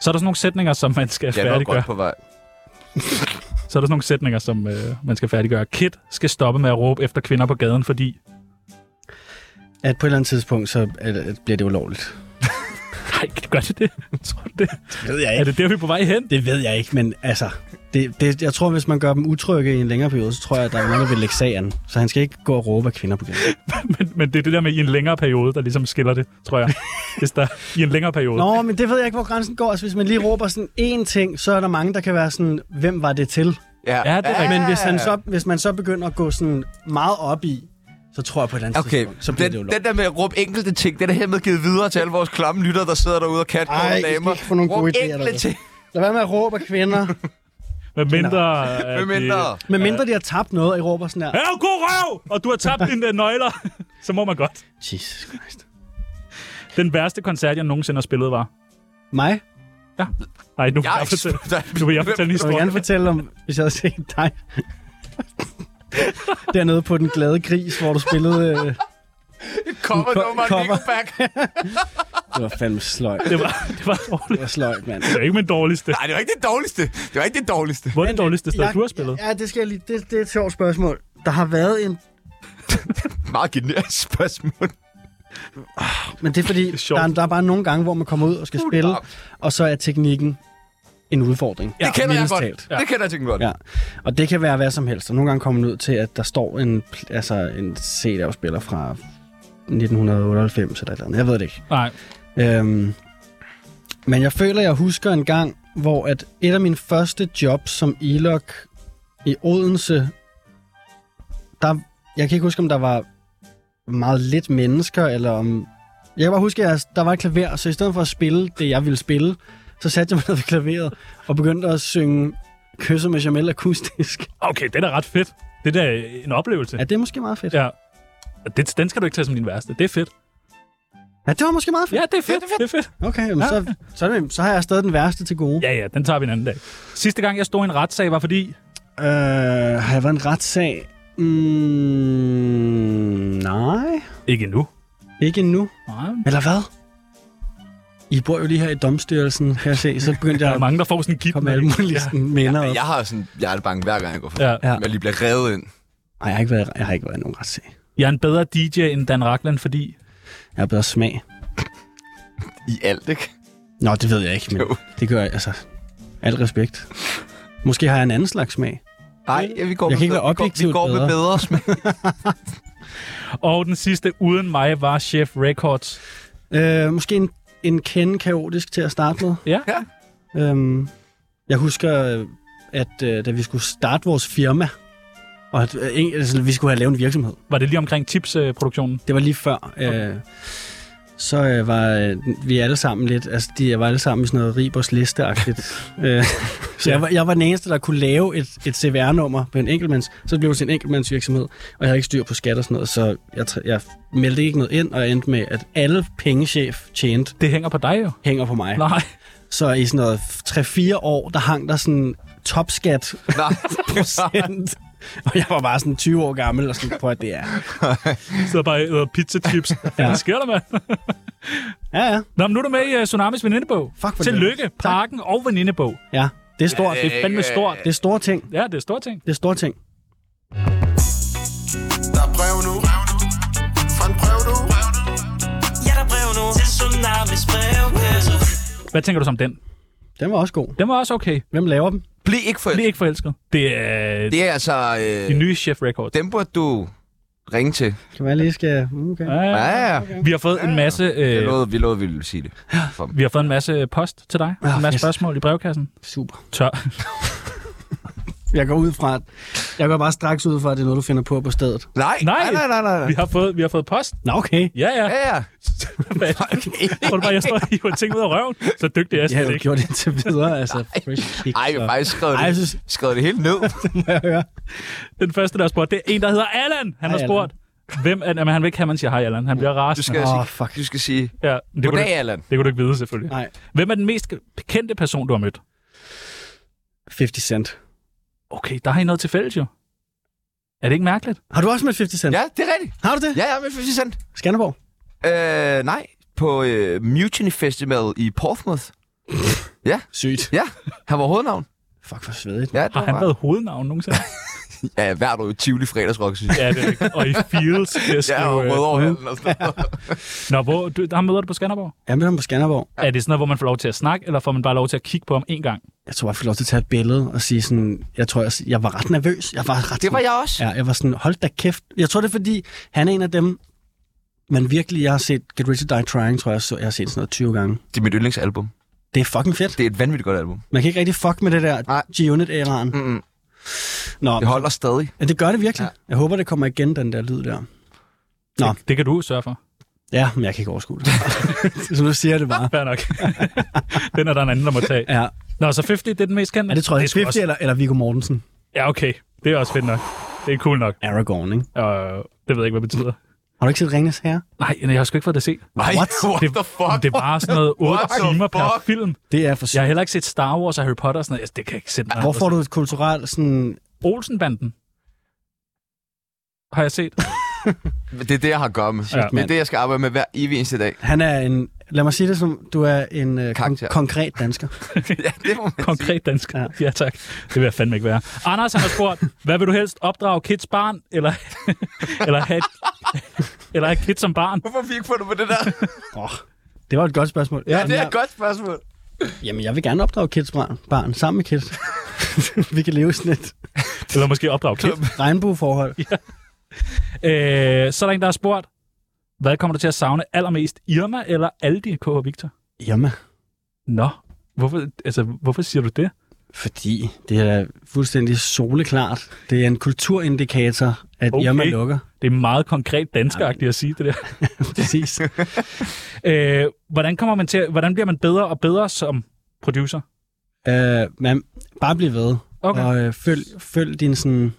[SPEAKER 2] Så er der sådan nogle sætninger, som man skal
[SPEAKER 1] Jeg var
[SPEAKER 2] færdiggøre.
[SPEAKER 1] godt på vej.
[SPEAKER 2] Så er der sådan nogle sætninger, som øh, man skal færdiggøre. Kid skal stoppe med at råbe efter kvinder på gaden, fordi...
[SPEAKER 4] At på et eller andet tidspunkt, så er det- bliver det ulovligt.
[SPEAKER 2] Nej, gør det [LAUGHS] det? Tror du det?
[SPEAKER 4] Det ved jeg
[SPEAKER 2] Er det der, vi er på vej hen?
[SPEAKER 4] Det ved jeg ikke, men altså... Det, det, jeg tror, hvis man gør dem utrygge i en længere periode, så tror jeg, at der er nogen, der vil lægge sagen. Så han skal ikke gå og råbe af kvinder på gaden.
[SPEAKER 2] Men, men det er det der med i en længere periode, der ligesom skiller det, tror
[SPEAKER 4] [LAUGHS]
[SPEAKER 2] jeg. Hvis der i en længere periode.
[SPEAKER 4] Nå, men det ved jeg ikke, hvor grænsen går. Altså, hvis man lige råber sådan én ting, så er der mange, der kan være sådan, hvem var det til?
[SPEAKER 2] Ja, det er rigtigt.
[SPEAKER 4] Men hvis, han så, hvis man så begynder at gå sådan meget op i, så tror jeg på et eller andet
[SPEAKER 1] Okay,
[SPEAKER 4] tidspunkt,
[SPEAKER 1] så
[SPEAKER 4] så bliver
[SPEAKER 1] den,
[SPEAKER 4] det jo
[SPEAKER 1] den der med at råbe enkelte ting, den er hermed givet videre til alle vores klamme lytter, der sidder derude og kat
[SPEAKER 4] Ej, I skal
[SPEAKER 1] damer.
[SPEAKER 4] ikke få nogle gode
[SPEAKER 1] Råb
[SPEAKER 4] idéer
[SPEAKER 1] enkelte
[SPEAKER 4] derude.
[SPEAKER 1] ting,
[SPEAKER 4] Lad være med at råbe af
[SPEAKER 2] [LAUGHS]
[SPEAKER 4] kvinder,
[SPEAKER 2] Med mindre... at
[SPEAKER 1] med
[SPEAKER 2] det-
[SPEAKER 1] mindre.
[SPEAKER 4] men mindre de har tabt noget, og I råber sådan der.
[SPEAKER 2] Ja, god røv! Og du har tabt dine øh, nøgler. [LAUGHS] Så må man godt.
[SPEAKER 4] Jesus Christ.
[SPEAKER 2] Den værste koncert, jeg nogensinde har spillet, var...
[SPEAKER 4] Mig?
[SPEAKER 2] Nej, nu vil
[SPEAKER 1] Jeg
[SPEAKER 2] jeg fortælle,
[SPEAKER 1] [LAUGHS] er
[SPEAKER 2] nu vil jeg fortælle en
[SPEAKER 4] Jeg vil
[SPEAKER 2] historie.
[SPEAKER 4] gerne fortælle om, hvis jeg havde set dig. [LAUGHS] Dernede på den glade gris, hvor du spillede... Øh,
[SPEAKER 1] Kommer nummer
[SPEAKER 4] Cover.
[SPEAKER 1] Nickelback.
[SPEAKER 4] det var fandme sløjt.
[SPEAKER 2] Det var, det var dårligt.
[SPEAKER 4] Det var sløjt, mand.
[SPEAKER 2] Det er ikke min dårligste.
[SPEAKER 1] Nej, det var ikke det dårligste. Det var ikke det dårligste.
[SPEAKER 2] Hvor er det dårligste sted, du har spillet?
[SPEAKER 4] Ja, det, skal jeg lige, det, det er et sjovt spørgsmål. Der har været en...
[SPEAKER 1] Meget generisk [LAUGHS] spørgsmål.
[SPEAKER 4] Men [LAUGHS] det er fordi, det er
[SPEAKER 2] sjovt.
[SPEAKER 4] der, er- der er bare nogle gange, hvor man kommer ud og skal spille, og så er teknikken en udfordring.
[SPEAKER 1] Det kender jeg
[SPEAKER 4] mildest
[SPEAKER 1] godt.
[SPEAKER 4] talt.
[SPEAKER 1] Det kender jeg tænke godt.
[SPEAKER 4] Ja. Og det kan være hvad som helst. Og nogle gange kommer man ud til, at der står en, pl- altså en CD-afspiller fra 1998 eller et eller andet. Jeg ved det ikke.
[SPEAKER 2] Nej,
[SPEAKER 4] Øhm, men jeg føler, jeg husker en gang, hvor at et af mine første jobs som ilok i Odense, der, jeg kan ikke huske, om der var meget lidt mennesker, eller om... Jeg kan bare huske, at der var et klaver, så i stedet for at spille det, jeg ville spille, så satte jeg mig [LAUGHS] ned ved klaveret og begyndte at synge Kysser med Jamel akustisk.
[SPEAKER 2] okay, det er da ret fedt. Det er da en oplevelse.
[SPEAKER 4] Ja, det er måske meget fedt. Ja,
[SPEAKER 2] Ja. Og det, den skal du ikke tage som din værste. Det er fedt.
[SPEAKER 4] ja det var måske meget fedt.
[SPEAKER 2] Ja, det er fedt. Det er fedt.
[SPEAKER 4] Okay, jamen, så, så, er det- så har jeg stadig den værste til gode.
[SPEAKER 2] Ja, ja, den tager vi en anden dag. Sidste gang, jeg stod i en retssag, var fordi...
[SPEAKER 4] Øh, har jeg været en retssag? Mm, nej,
[SPEAKER 2] Ikke endnu.
[SPEAKER 4] ikke endnu.
[SPEAKER 2] Nej,
[SPEAKER 4] Eller hvad? I bor jo lige her i domstyrelsen, kan jeg se. Så begyndte [LAUGHS]
[SPEAKER 2] der er
[SPEAKER 4] jeg at
[SPEAKER 2] mange, der får sådan en kip.
[SPEAKER 4] komme alle mulige sådan minder op.
[SPEAKER 1] Jeg har sådan, jeg er bange hver gang, jeg går for.
[SPEAKER 2] Ja.
[SPEAKER 4] Ja.
[SPEAKER 1] Jeg lige bliver revet ind.
[SPEAKER 4] Ej, jeg har ikke været, jeg har ikke været i nogen retssag.
[SPEAKER 2] Jeg er en bedre DJ end Dan Ragland, fordi...
[SPEAKER 4] Jeg har bedre smag.
[SPEAKER 1] I alt, ikke?
[SPEAKER 4] Nå, det ved jeg ikke, men
[SPEAKER 1] Jo.
[SPEAKER 4] det gør jeg, altså... Al respekt. Måske har jeg en anden slags smag.
[SPEAKER 1] Nej, ja, vi går
[SPEAKER 4] Jeg
[SPEAKER 1] med
[SPEAKER 4] kan ikke være
[SPEAKER 1] bedre- vi går-
[SPEAKER 4] objektivt
[SPEAKER 1] Vi går med
[SPEAKER 4] bedre.
[SPEAKER 1] bedre smag.
[SPEAKER 2] Og den sidste uden mig var Chef Records.
[SPEAKER 4] Øh, måske en, en kende kaotisk til at starte med.
[SPEAKER 2] Ja.
[SPEAKER 1] Ja.
[SPEAKER 4] Øhm, jeg husker, øh, at øh, da vi skulle starte vores firma, og at, øh, en- altså, vi skulle have lavet en virksomhed,
[SPEAKER 2] Var det lige omkring tipsproduktionen?
[SPEAKER 4] det var lige før, øh, så øh, var øh, vi alle sammen lidt, altså de var alle sammen i sådan noget Ribers liste øh, så jeg var, jeg var den eneste, der kunne lave et, et CVR-nummer på en enkeltmands, så blev det til en enkeltmandsvirksomhed, og jeg havde ikke styr på skat og sådan noget, så jeg, tr- jeg meldte ikke noget ind, og jeg endte med, at alle pengechef tjent
[SPEAKER 2] Det hænger på dig jo.
[SPEAKER 4] hænger på mig.
[SPEAKER 2] Nej.
[SPEAKER 4] Så i sådan noget 3-4 år, der hang der sådan
[SPEAKER 1] [LAUGHS]
[SPEAKER 4] topskat [LAUGHS]
[SPEAKER 1] Nej. [LAUGHS]
[SPEAKER 4] procent. og jeg var bare sådan 20 år gammel og sådan, på at det er.
[SPEAKER 2] Så bare æder pizza chips. ja. Hvad sker der, mand?
[SPEAKER 4] Ja, ja.
[SPEAKER 2] Nå, men nu er du med i uh, Tsunamis venindebog.
[SPEAKER 4] Fuck, hvor
[SPEAKER 2] Tillykke, Parken og venindebog.
[SPEAKER 4] Ja, det er stort.
[SPEAKER 2] Det er fandme stort.
[SPEAKER 4] Det er store ting.
[SPEAKER 2] Ja, det er store ting.
[SPEAKER 4] Det er store ting.
[SPEAKER 6] Der er brev nu. Fra en brev du.
[SPEAKER 10] Ja, der er brev nu til Tsunamis brevkasse.
[SPEAKER 2] Hvad tænker du som den?
[SPEAKER 4] Den var også god.
[SPEAKER 2] Den var også okay.
[SPEAKER 4] Hvem laver dem?
[SPEAKER 1] Bliv ikke for...
[SPEAKER 2] Bliv ikke forelsket. Det er
[SPEAKER 1] Det er altså... Øh,
[SPEAKER 2] de nye Chef Records.
[SPEAKER 1] dem burde du ringe til.
[SPEAKER 4] Kan man lige skal... Mm, Okay.
[SPEAKER 2] Ja, ja,
[SPEAKER 1] Ja,
[SPEAKER 2] ja.
[SPEAKER 1] ja.
[SPEAKER 2] Vi har fået en masse...
[SPEAKER 1] Jeg
[SPEAKER 2] Øh,
[SPEAKER 1] lovede, vi lovede, vi ville sige det. For dem.
[SPEAKER 2] vi har fået en masse post til dig.
[SPEAKER 4] Ah,
[SPEAKER 2] en masse
[SPEAKER 4] fedt.
[SPEAKER 2] spørgsmål i brevkassen.
[SPEAKER 4] Super.
[SPEAKER 2] Tør.
[SPEAKER 4] Jeg går ud fra, at... Jeg går bare straks ud fra, at det er noget, du finder på på stedet.
[SPEAKER 1] Nej,
[SPEAKER 2] Nej.
[SPEAKER 1] nej, nej, nej, nej.
[SPEAKER 2] Vi har fået, vi har fået post.
[SPEAKER 4] Nå, okay.
[SPEAKER 2] Ja, ja.
[SPEAKER 1] Ja, ja.
[SPEAKER 2] Hvad? Tror du bare, jeg står og hiver ting ud af røven? Så dygtig er jeg
[SPEAKER 4] Jeg har
[SPEAKER 2] slet
[SPEAKER 4] jo
[SPEAKER 2] ikke.
[SPEAKER 4] gjort det indtil videre. Altså, fresh kick,
[SPEAKER 1] Ej, jeg
[SPEAKER 4] så-
[SPEAKER 1] har faktisk skrevet
[SPEAKER 4] Ej, jeg
[SPEAKER 1] det,
[SPEAKER 4] synes,
[SPEAKER 1] skrevet det helt ned.
[SPEAKER 4] jeg hører.
[SPEAKER 2] Den første, der har spurgt, det er en, der hedder Allan. Han har
[SPEAKER 4] Allan.
[SPEAKER 2] spurgt, hvem er... Jamen, han vil ikke have, man siger hej, Allan. Han bliver
[SPEAKER 1] Du
[SPEAKER 2] rasende.
[SPEAKER 1] skal,
[SPEAKER 4] Åh,
[SPEAKER 1] sige,
[SPEAKER 4] fuck.
[SPEAKER 1] du skal sige,
[SPEAKER 2] Ja, det kunne, du,
[SPEAKER 1] goddag,
[SPEAKER 2] ikke-
[SPEAKER 1] Allan.
[SPEAKER 2] det kunne du ikke vide, selvfølgelig.
[SPEAKER 4] Nej.
[SPEAKER 2] Hvem er den mest kendte person, du har mødt?
[SPEAKER 4] 50 Cent.
[SPEAKER 2] Okay, der har I noget til fælles jo. Er det ikke mærkeligt?
[SPEAKER 4] Har du også mødt 50 Cent?
[SPEAKER 1] Ja, det er rigtigt.
[SPEAKER 4] Har du det?
[SPEAKER 1] Ja, ja, men 50 cent.
[SPEAKER 4] Skanderborg?
[SPEAKER 1] Øh, nej, på øh, Mutiny Festival i Portsmouth.
[SPEAKER 4] Sygt.
[SPEAKER 1] Han var hovednavn.
[SPEAKER 4] Fuck, hvor svedigt.
[SPEAKER 1] Ja, det
[SPEAKER 2] Har
[SPEAKER 1] var
[SPEAKER 2] han
[SPEAKER 1] mig. [LAUGHS]
[SPEAKER 2] været hovednavn nogensinde?
[SPEAKER 1] ja, hvert år i Tivoli fredagsrock, synes jeg.
[SPEAKER 2] Ja, det er rigtigt. Og i Fields. Jeg
[SPEAKER 1] Ja, og Rødovrehallen og sådan noget.
[SPEAKER 2] øh, Nå, hvor, du, der møder du på Skanderborg.
[SPEAKER 4] Jeg mødte ham på Skanderborg.
[SPEAKER 2] Er det sådan noget, hvor man får lov til at snakke, eller får man bare lov til at kigge på ham en gang?
[SPEAKER 4] Jeg tror, jeg fik lov til at tage et billede og sige sådan... Jeg tror, jeg, jeg var ret nervøs. Jeg var ret
[SPEAKER 1] Det var
[SPEAKER 4] sådan-
[SPEAKER 1] jeg også.
[SPEAKER 4] Ja, jeg var sådan, hold da kæft. Jeg tror, det er fordi, han er en af dem, man virkelig... Jeg har set Get Rich or Die Trying, tror jeg, så jeg har set sådan noget 20 gange.
[SPEAKER 1] Det er mit yndlingsalbum.
[SPEAKER 4] Det er fucking fedt.
[SPEAKER 1] Det er et vanvittigt godt album.
[SPEAKER 4] Man kan ikke rigtig fuck med det der
[SPEAKER 1] Nej.
[SPEAKER 4] G-Unit-æraen.
[SPEAKER 1] Mm-mm.
[SPEAKER 4] Nå,
[SPEAKER 1] Det holder stadig.
[SPEAKER 4] ja, det gør det virkelig. Ja. Jeg håber, det kommer igen, den der lyd der. Nå.
[SPEAKER 2] Det, det kan du sørge for.
[SPEAKER 4] Ja, men jeg kan ikke overskue det. så nu siger jeg det [LAUGHS] bare.
[SPEAKER 2] Fair nok. [LAUGHS] den er der en anden, der må tage.
[SPEAKER 4] Ja,
[SPEAKER 2] Nå, så 50, det er den mest kendte?
[SPEAKER 4] ja det tror jeg.
[SPEAKER 2] er sgu
[SPEAKER 4] 50
[SPEAKER 2] også...
[SPEAKER 4] eller, eller Viggo Mortensen.
[SPEAKER 2] Ja, okay. Det er også fedt nok. Det er cool nok.
[SPEAKER 4] Aragorn, ikke?
[SPEAKER 2] Og det ved jeg ikke, hvad det betyder.
[SPEAKER 4] Har du ikke set Ringens Herre?
[SPEAKER 2] Nej, jeg har sgu ikke fået det set.
[SPEAKER 1] Nej,
[SPEAKER 4] What?
[SPEAKER 1] [LAUGHS] what
[SPEAKER 2] Det,
[SPEAKER 1] the fuck?
[SPEAKER 2] det er bare sådan noget 8
[SPEAKER 1] What the
[SPEAKER 2] timer per
[SPEAKER 1] fuck?
[SPEAKER 2] film.
[SPEAKER 4] Det er for
[SPEAKER 2] Jeg
[SPEAKER 4] sygt.
[SPEAKER 2] har heller ikke set Star Wars og Harry Potter og sådan noget. Altså, det kan jeg ikke sætte mig.
[SPEAKER 4] Hvor får du et kulturelt sådan...
[SPEAKER 2] Olsenbanden. Har jeg
[SPEAKER 1] [LAUGHS]
[SPEAKER 2] set?
[SPEAKER 1] Det er det, jeg har at gøre med.
[SPEAKER 2] Ja.
[SPEAKER 1] Det er det, jeg skal arbejde med hver evig eneste [LAUGHS] dag.
[SPEAKER 4] Han er en... Lad mig sige det som, du er en øh, kon-
[SPEAKER 1] Karakter.
[SPEAKER 4] konkret dansker.
[SPEAKER 1] [LAUGHS] ja, det må man
[SPEAKER 2] Konkret dansk. Ja.
[SPEAKER 4] Ja.
[SPEAKER 2] ja, tak. Det vil jeg fandme ikke være. Anders han har spurgt, hvad vil du helst opdrage kids barn, eller, [LAUGHS] eller, have, eller have kids som barn?
[SPEAKER 1] Hvorfor fik på det på det [LAUGHS] der?
[SPEAKER 4] Oh, det var et godt spørgsmål.
[SPEAKER 1] Ja, det er
[SPEAKER 4] jeg,
[SPEAKER 1] et godt spørgsmål.
[SPEAKER 4] Jamen, jeg vil gerne opdrage kids barn, barn sammen med kids. [LAUGHS] Vi kan leve i sådan et
[SPEAKER 2] Eller måske opdrage kids.
[SPEAKER 4] regnbueforhold.
[SPEAKER 2] Øh, så er der en, der har spurgt, hvad kommer du til at savne allermest? Irma eller Aldi, K. og Victor?
[SPEAKER 4] Jamen,
[SPEAKER 2] Nå, hvorfor, altså, hvorfor siger du det?
[SPEAKER 4] Fordi det er fuldstændig soleklart. Det er en kulturindikator, at
[SPEAKER 2] Okay.
[SPEAKER 4] okay. Irma lukker.
[SPEAKER 2] Det er meget konkret danskeragtigt at sige det der.
[SPEAKER 4] Præcis.
[SPEAKER 2] Øh, hvordan, kommer man til, at- hvordan bliver man bedre og bedre som producer?
[SPEAKER 4] øh, man, bare bliv ved.
[SPEAKER 2] Okay.
[SPEAKER 4] Og øh, følg, følg din sådan...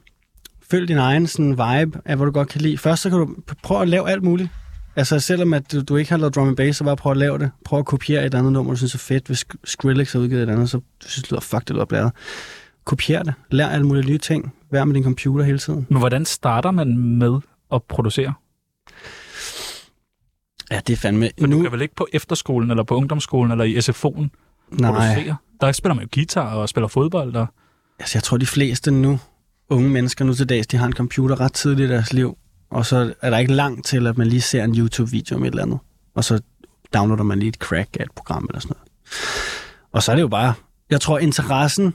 [SPEAKER 4] Følg din egen sådan vibe af, hvor du godt kan lide. Først så kan du p- prøve at lave alt muligt. Altså selvom at du, du ikke har lavet drum and bass, så bare prøv at lave det. Prøv at kopiere et andet nummer, du synes er fedt. Hvis Sk- Skrillex har udgivet et andet, så du synes, det lyder fuck, det lyder bladet. Kopier det. Lær alle mulige nye ting. Vær med din computer hele tiden.
[SPEAKER 2] Men hvordan starter man med at producere?
[SPEAKER 4] Ja, det er fandme...
[SPEAKER 2] Men nu... du kan vel ikke på efterskolen, eller på ungdomsskolen, eller i SFO'en
[SPEAKER 4] nej.
[SPEAKER 2] producere? Der spiller man jo guitar og spiller fodbold. Og...
[SPEAKER 4] Altså, jeg tror, de fleste nu, unge mennesker nu til dags, de har en computer ret tidligt i deres liv, og så er der ikke langt til, at man lige ser en YouTube-video om et eller andet, og så downloader man lige et crack af et program eller sådan noget. Og så er det jo bare, jeg tror, interessen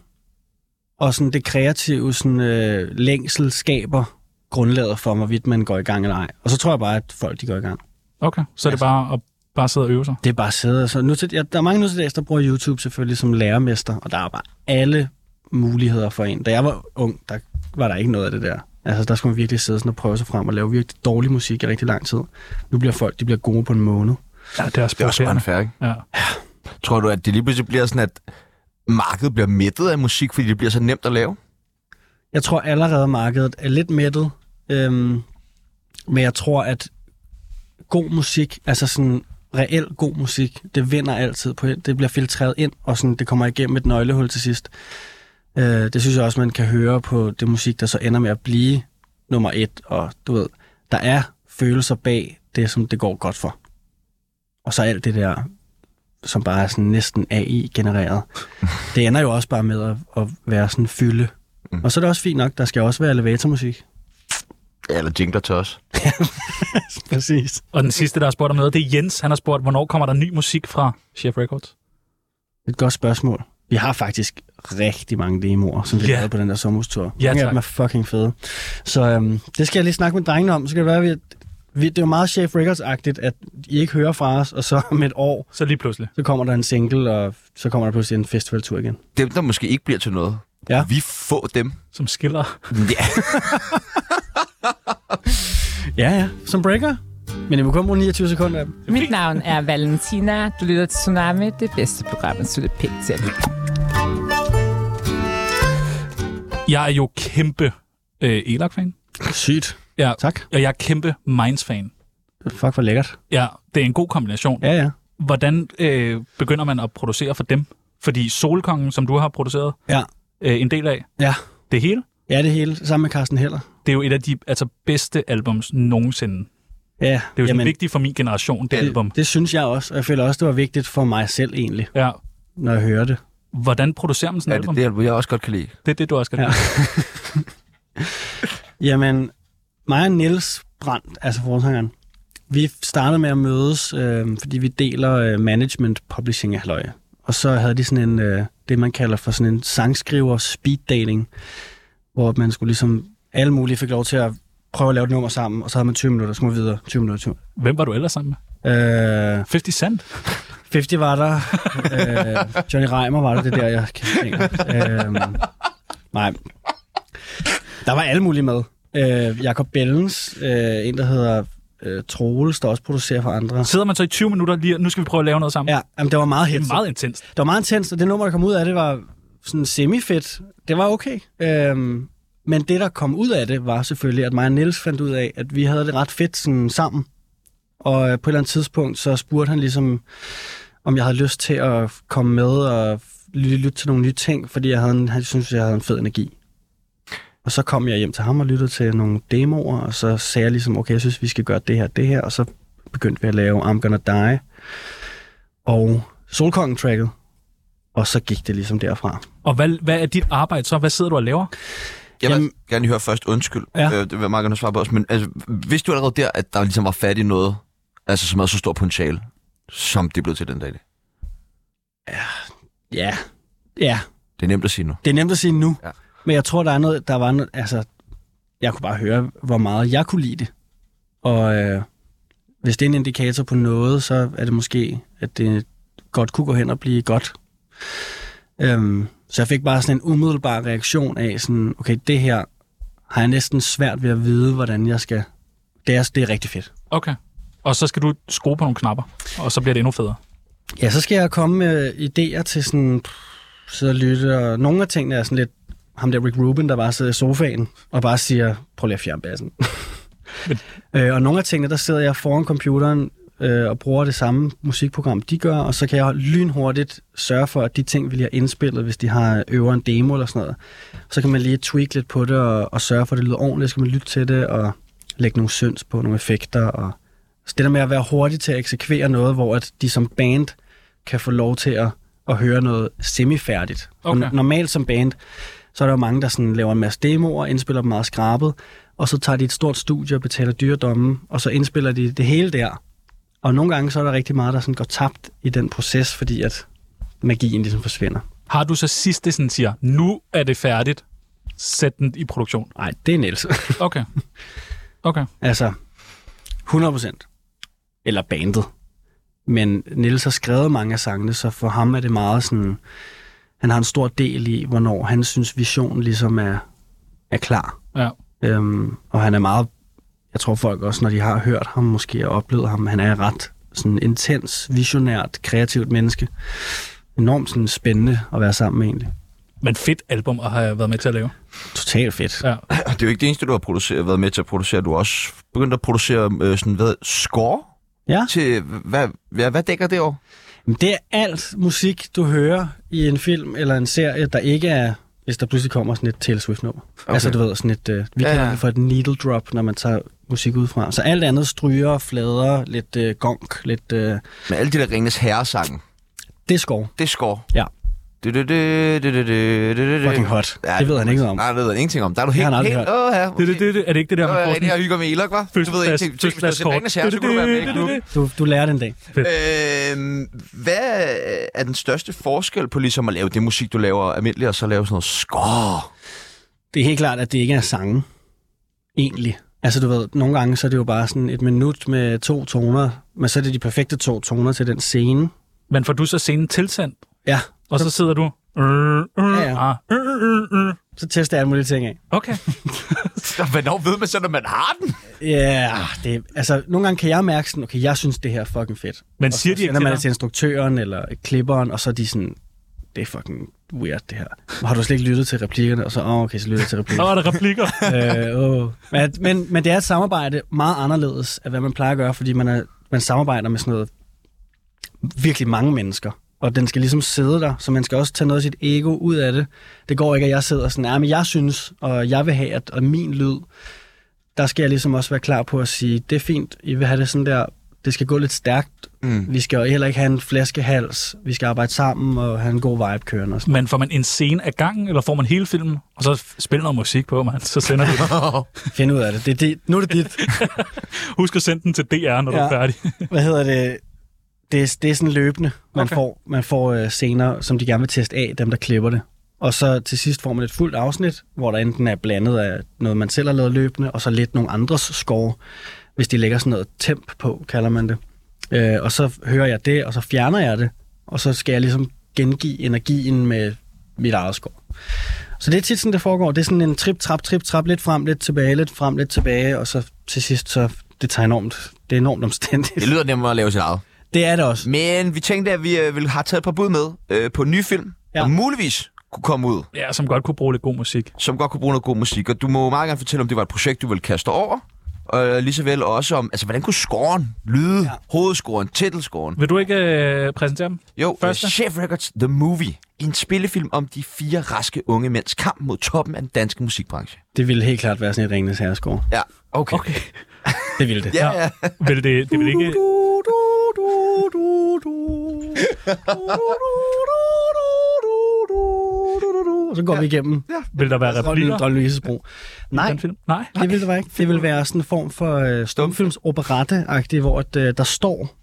[SPEAKER 4] og sådan det kreative sådan, øh, længsel skaber grundlaget for, hvorvidt man går i gang eller ej. Og så tror jeg bare, at folk de går i gang.
[SPEAKER 2] Okay, så er det bare at bare sidde og øve sig.
[SPEAKER 4] Det er bare sæde. Altså, nu til, ja, der er mange nu til dags, der bruger YouTube selvfølgelig som lærermester, og der er bare alle muligheder for en. Da jeg var ung, der var der ikke noget af det der. Altså, der skulle man virkelig sidde sådan og prøve sig frem og lave virkelig dårlig musik i rigtig lang tid. Nu bliver folk, de bliver gode på en måned.
[SPEAKER 2] Ja, det er også,
[SPEAKER 1] Det er også bare en færdig.
[SPEAKER 2] Ja.
[SPEAKER 1] Tror du, at det lige pludselig bliver sådan, at markedet bliver mættet af musik, fordi det bliver så nemt at lave?
[SPEAKER 4] Jeg tror allerede, markedet er lidt mættet, øhm, men jeg tror, at god musik, altså sådan reel god musik, det vinder altid på det bliver filtreret ind, og sådan, det kommer igennem et nøglehul til sidst. Øh, det synes jeg også, man kan høre på det musik, der så ender med at blive nummer et, og du ved, der er følelser bag det, som det går godt for. Og så alt det der, som bare er sådan næsten AI-genereret, det ender jo også bare med at, at være sådan fylde. Og så er det også fint nok, der skal også være elevatormusik.
[SPEAKER 1] Ja, eller jingler til os.
[SPEAKER 4] Præcis.
[SPEAKER 2] Og den sidste, der har spurgt om noget, det er Jens. Han har spurgt, hvornår kommer der ny musik fra Chef Records?
[SPEAKER 4] Et godt spørgsmål. Vi har faktisk rigtig mange demoer, som vi
[SPEAKER 2] Ja.
[SPEAKER 4] yeah. lavede på den der sommerhustur.
[SPEAKER 2] Ja,
[SPEAKER 4] Mange af
[SPEAKER 2] tak.
[SPEAKER 4] dem er fucking fede. Så øhm, det skal jeg lige snakke med drengene om. Så kan det være, at vi, vi, det er jo meget Chef Records-agtigt, at I ikke hører fra os, og så [LAUGHS] om et år,
[SPEAKER 2] Så lige pludselig.
[SPEAKER 4] så kommer der en single, og så kommer der pludselig en festivaltur igen.
[SPEAKER 1] Dem, der måske ikke bliver til noget.
[SPEAKER 4] Ja.
[SPEAKER 1] Vi får dem.
[SPEAKER 2] Som
[SPEAKER 1] [LAUGHS]
[SPEAKER 2] skiller.
[SPEAKER 1] Ja.
[SPEAKER 4] Ja, ja. Som breaker. Men I må kun bruge 29 sekunder af dem.
[SPEAKER 9] Mit navn er Valentina. Du lytter til Tsunami, det bedste program, man synes er pænt til.
[SPEAKER 2] Jeg er jo kæmpe øh, Elak-fan.
[SPEAKER 4] Sygt.
[SPEAKER 2] Ja,
[SPEAKER 4] Tak.
[SPEAKER 2] og jeg er kæmpe Minds-fan.
[SPEAKER 4] Fuck, hvor lækkert.
[SPEAKER 2] Ja, det er en god kombination.
[SPEAKER 4] Ja, ja.
[SPEAKER 2] Hvordan øh, begynder man at producere for dem? Fordi Solkongen, som du har produceret
[SPEAKER 4] Ja.
[SPEAKER 2] øh, en del af,
[SPEAKER 4] Ja.
[SPEAKER 2] det hele,
[SPEAKER 4] Ja, det hele. Sammen med Carsten Heller.
[SPEAKER 2] det er jo et af de altså, bedste albums nogensinde.
[SPEAKER 4] Ja, det
[SPEAKER 2] Det er jo sådan vigtigt for min generation, det, album.
[SPEAKER 4] Det, det synes jeg også, og jeg føler også, det var vigtigt for mig selv egentlig,
[SPEAKER 2] Ja.
[SPEAKER 4] når jeg hører det.
[SPEAKER 2] Hvordan producerer man sådan et
[SPEAKER 1] ja,
[SPEAKER 2] album?
[SPEAKER 1] det, det album, jeg også godt kan lide.
[SPEAKER 2] Det er det, du også skal ja.
[SPEAKER 4] Ja. Jamen, mig og Niels Brandt, altså forsangeren, vi startede med at mødes, øh, fordi vi deler øh, management publishing halløj. Og så havde de sådan en, øh, det man kalder for sådan en sangskriver speed dating, hvor man skulle ligesom, alle mulige fik lov til at prøve at lave et nummer sammen, og så havde man 20 minutter, så må vi videre, 20 minutter, 20
[SPEAKER 2] Hvem var du ellers sammen med?
[SPEAKER 4] minutter. Øh,
[SPEAKER 2] 50 Cent?
[SPEAKER 4] 50 var der. øh, Johnny Reimer var der, det er der, jeg kan øh, Nej. Der var alle mulige med. Øh, Jakob Bellens, øh, en der hedder øh, Troels, der også producerer for andre.
[SPEAKER 2] Sidder man så i 20 minutter lige, og nu skal vi prøve at lave noget sammen?
[SPEAKER 4] Ja, jamen, det var meget
[SPEAKER 2] Det
[SPEAKER 4] helt.
[SPEAKER 2] er meget intenst.
[SPEAKER 4] Det var meget intenst, og det nummer, der kom ud af det, var sådan semi-fedt. Det var okay. Øhm, men det, der kom ud af det, var selvfølgelig, at mig og Niels fandt ud af, at vi havde det ret fedt sådan, sammen. Og øh, på et eller andet tidspunkt, så spurgte han ligesom, om jeg havde lyst til at komme med og f- ly- lytte til nogle nye ting, fordi jeg havde en, han synes, jeg havde en fed energi. Og så kom jeg hjem til ham og lyttede til nogle demoer, og så sagde jeg ligesom, okay, jeg synes, vi skal gøre det her, det her, og så begyndte vi at lave I'm Gonna Die og Solkongen-tracket. Og så gik det ligesom derfra.
[SPEAKER 2] Og hvad, hvad er dit arbejde så? Hvad sidder du og laver?
[SPEAKER 1] Jeg vil
[SPEAKER 4] Jamen-
[SPEAKER 1] Jamen, gerne lige høre først undskyld.
[SPEAKER 4] Ja.
[SPEAKER 1] Ja. Øh, det vil jeg meget gerne svare på også. Men altså, vidste du allerede der, at der ligesom var fat i noget, altså, som havde så stor potentiale, som det blev til den dag? i dag?
[SPEAKER 4] Ja. Ja,
[SPEAKER 1] Det er nemt at sige nu.
[SPEAKER 4] det er nemt at sige nu. Ja.
[SPEAKER 1] Ja.
[SPEAKER 4] Men jeg tror, der er noget, der var noget, altså, jeg kunne bare høre, hvor meget jeg kunne lide det. Og øh, hvis det er en indikator på noget, så er det måske, at det godt kunne gå hen og blive godt. Øhm, så jeg fik bare sådan en umiddelbar reaktion af sådan, okay, det her har jeg næsten svært ved at vide, hvordan jeg skal. Det er, det er rigtig fedt.
[SPEAKER 2] Okay. Og så skal du skrue på nogle knapper, og så bliver det endnu federe.
[SPEAKER 4] Ja, så skal jeg komme med idéer til sådan pff, sidde og lytte, og nogle af tingene er sådan lidt ham der Rick Rubin, der bare sidder i sofaen og bare siger, prøv lige at fjerne bassen. øh, og nogle af tingene, der sidder jeg foran computeren øh, og bruger det samme musikprogram, de gør, og så kan jeg lynhurtigt sørge for, at de ting, vi lige har indspillet, hvis de har øver en demo eller sådan noget, så kan man lige tweak lidt på det og, og sørge for, at det lyder ordentligt, så kan man lytte til det og lægge nogle synds på, nogle effekter og så det der med at være hurtig til at eksekvere noget, hvor at de som band kan få lov til at, at høre noget semifærdigt. For
[SPEAKER 2] Okay.
[SPEAKER 4] n- Normalt som band, så er der jo mange, der sådan laver en masse demoer, indspiller dem meget skrabet, og så tager de et stort studie og betaler dyredomme, og så indspiller de det hele der. Og nogle gange så er der rigtig meget, der sådan går tabt i den proces, fordi at magien ligesom forsvinder.
[SPEAKER 2] Har du så sidst det sådan siger, nu er det færdigt, sæt den i produktion?
[SPEAKER 4] Nej, det er Niels. [LAUGHS]
[SPEAKER 2] Okay. Okay.
[SPEAKER 4] Altså, 100 procent. Eller bandet. Men Niels har skrevet mange af sangene, så for ham er det meget sådan... Han har en stor del i, hvornår han synes, visionen ligesom er, er klar.
[SPEAKER 2] Ja.
[SPEAKER 4] Øhm, og han er meget... Jeg tror folk også, når de har hørt ham måske og oplevet ham, han er ret sådan intens, visionært, kreativt menneske. Enormt sådan spændende at være sammen med egentlig.
[SPEAKER 2] Men fedt album at have været med til at lave.
[SPEAKER 4] Totalt fedt.
[SPEAKER 2] Ja.
[SPEAKER 1] Og det er jo ikke det eneste, du har produceret, været med til at producere. Du har også begyndt at producere øh, sådan, hvad, score?
[SPEAKER 4] Ja.
[SPEAKER 1] Til, hvad, hvad, hvad dækker det over?
[SPEAKER 4] Jamen, det er alt musik, du hører i en film eller en serie, der ikke er, hvis der pludselig kommer sådan et Taylor Swift-nummer. Okay. Altså, du ved, sådan et, øh, vi
[SPEAKER 1] Ja,
[SPEAKER 4] kalder
[SPEAKER 1] ja.
[SPEAKER 4] det for et needle drop, når man tager musik udefra. Så alt andet stryger, flader, lidt øh, gonk, lidt... Øh,
[SPEAKER 1] Men alle de der Ringens herresange,
[SPEAKER 4] det er skov.
[SPEAKER 1] det er score.
[SPEAKER 4] Ja.
[SPEAKER 1] Du, du, du, du, du, du, du, du.
[SPEAKER 4] Fucking hot. Ja, det ved han ikke noget om.
[SPEAKER 1] Nej, det ved han ingenting om. Der er du
[SPEAKER 4] har
[SPEAKER 1] helt,
[SPEAKER 4] han aldrig
[SPEAKER 1] helt,
[SPEAKER 4] hørt.
[SPEAKER 1] åh, ja.
[SPEAKER 2] [LAUGHS] Det, det, det, det, er det ikke det der,
[SPEAKER 1] Nå,
[SPEAKER 2] man
[SPEAKER 1] jeg er
[SPEAKER 2] får
[SPEAKER 1] det, jeg
[SPEAKER 2] sådan
[SPEAKER 1] hygger med Elok, hva'? Du ved
[SPEAKER 2] fødselsdags-
[SPEAKER 1] ingenting. Tænk, Hvis du har set
[SPEAKER 2] fødselsdagskort?
[SPEAKER 1] Ringens Herre, så kunne du være med i klubben.
[SPEAKER 4] Du, du lærer den dag.
[SPEAKER 1] Øh, hvad øh, er den største forskel på ligesom at lave det musik, du laver almindeligt, og så lave sådan noget skår?
[SPEAKER 4] Det er helt klart, at det ikke er sange. Egentlig. Altså du ved, nogle gange så er det jo bare sådan et minut med to toner, men så er det de perfekte to toner til den scene.
[SPEAKER 2] Men får du så scenen tilsendt,
[SPEAKER 4] Ja,
[SPEAKER 2] og så sidder du... Øh, øh,
[SPEAKER 4] Ja, ja.
[SPEAKER 2] ah, øh, øh, øh.
[SPEAKER 4] så tester jeg alle mulige ting af.
[SPEAKER 2] Okay.
[SPEAKER 1] Hvornår ved man så, når man har den? [LAUGHS]
[SPEAKER 4] Ja, yeah, det, altså nogle gange kan jeg mærke sådan, okay, jeg synes, det her er fucking fedt.
[SPEAKER 2] Men
[SPEAKER 4] og
[SPEAKER 2] siger
[SPEAKER 4] så
[SPEAKER 2] de ikke
[SPEAKER 4] sender
[SPEAKER 2] til
[SPEAKER 4] man det
[SPEAKER 2] dig?
[SPEAKER 4] til instruktøren eller klipperen, og så er de sådan, det er fucking weird, det her. Har du slet ikke lyttet til replikkerne? Og så, åh, oh, okay, så lytter jeg til
[SPEAKER 2] Så
[SPEAKER 4] replikkerne.
[SPEAKER 2] er der replikker. [LAUGHS]
[SPEAKER 4] øh, oh. men, men, men det er et samarbejde meget anderledes af, hvad man plejer at gøre, fordi man, er, man samarbejder med sådan noget virkelig mange mennesker. Og den skal ligesom sidde der, så man skal også tage noget af sit ego ud af det. Det går ikke, at jeg sidder sådan, ja, men jeg synes, og jeg vil have, at og min lyd, der skal jeg ligesom også være klar på at sige, det er fint, I vil have det sådan der, det skal gå lidt stærkt. Mm. Vi skal jo heller ikke have en flæskehals. Vi skal arbejde sammen og have en god vibe kørende. Og sådan.
[SPEAKER 2] Men får man en scene af gangen, eller får man hele filmen, og så f- spiller noget musik på, man, så sender du
[SPEAKER 1] [LAUGHS]
[SPEAKER 2] den.
[SPEAKER 4] Find ud af det. det, er dit. Nu er det dit.
[SPEAKER 2] Husk at sende den til DR, når ja. du er
[SPEAKER 4] Ja.
[SPEAKER 2] færdig. [LAUGHS]
[SPEAKER 4] Hvad hedder det? Det er, det er sådan løbende. Man okay. får, man får øh, scener, som de gerne vil teste af, dem der klipper det. Og så til sidst får man et fuldt afsnit, hvor der enten er blandet af noget, man selv har lavet løbende, og så lidt nogle andres score, hvis de lægger sådan noget temp på, kalder man det. Øh, og så hører jeg det, og så fjerner jeg det, og så skal jeg ligesom gengive energien med mit eget score. Så det er tit sådan, det foregår. Det er sådan en trip, trap, trip, trap, lidt frem, lidt tilbage, lidt frem, lidt tilbage, og så til sidst, så det tager enormt, det er enormt omstændigt.
[SPEAKER 1] Det lyder nemmere at lave sit eget.
[SPEAKER 4] Det er det også.
[SPEAKER 1] Men vi tænkte, at vi øh, ville have taget et par bud med øh, på en ny film, ja.
[SPEAKER 4] Ja.
[SPEAKER 1] der muligvis kunne komme ud,
[SPEAKER 2] Ja, som godt kunne bruge lidt god musik.
[SPEAKER 1] som godt kunne bruge noget god musik. Og du må meget gerne fortælle, om det var et projekt, du ville kaste over. Og lige så vel også om, altså hvordan kunne scoren lyde? Ja. Hovedscoren, titelscoren.
[SPEAKER 2] Vil du ikke øh, præsentere dem?
[SPEAKER 1] Jo,
[SPEAKER 2] Første.
[SPEAKER 1] Første. Chef Records The Movie. En spillefilm om de fire raske unge mænds kamp mod toppen af den danske musikbranche.
[SPEAKER 4] Det ville helt klart være sådan et Ringnes Herresgaard.
[SPEAKER 1] Ja, okay.
[SPEAKER 2] Okay.
[SPEAKER 4] Det ville det.
[SPEAKER 1] Ja, ja.
[SPEAKER 2] Vil det, det vil ikke...
[SPEAKER 4] Og så går ja. vi igennem
[SPEAKER 2] Vil der
[SPEAKER 4] [LAUGHS]
[SPEAKER 2] være replikker?
[SPEAKER 4] Dronning Louise's bro.
[SPEAKER 2] i
[SPEAKER 4] Nej,
[SPEAKER 2] den film? Nej.
[SPEAKER 4] det ville det være ikke. Det ville være sådan en form for øh, stumfilmsoperette-agtig, hvor at, øh, der står,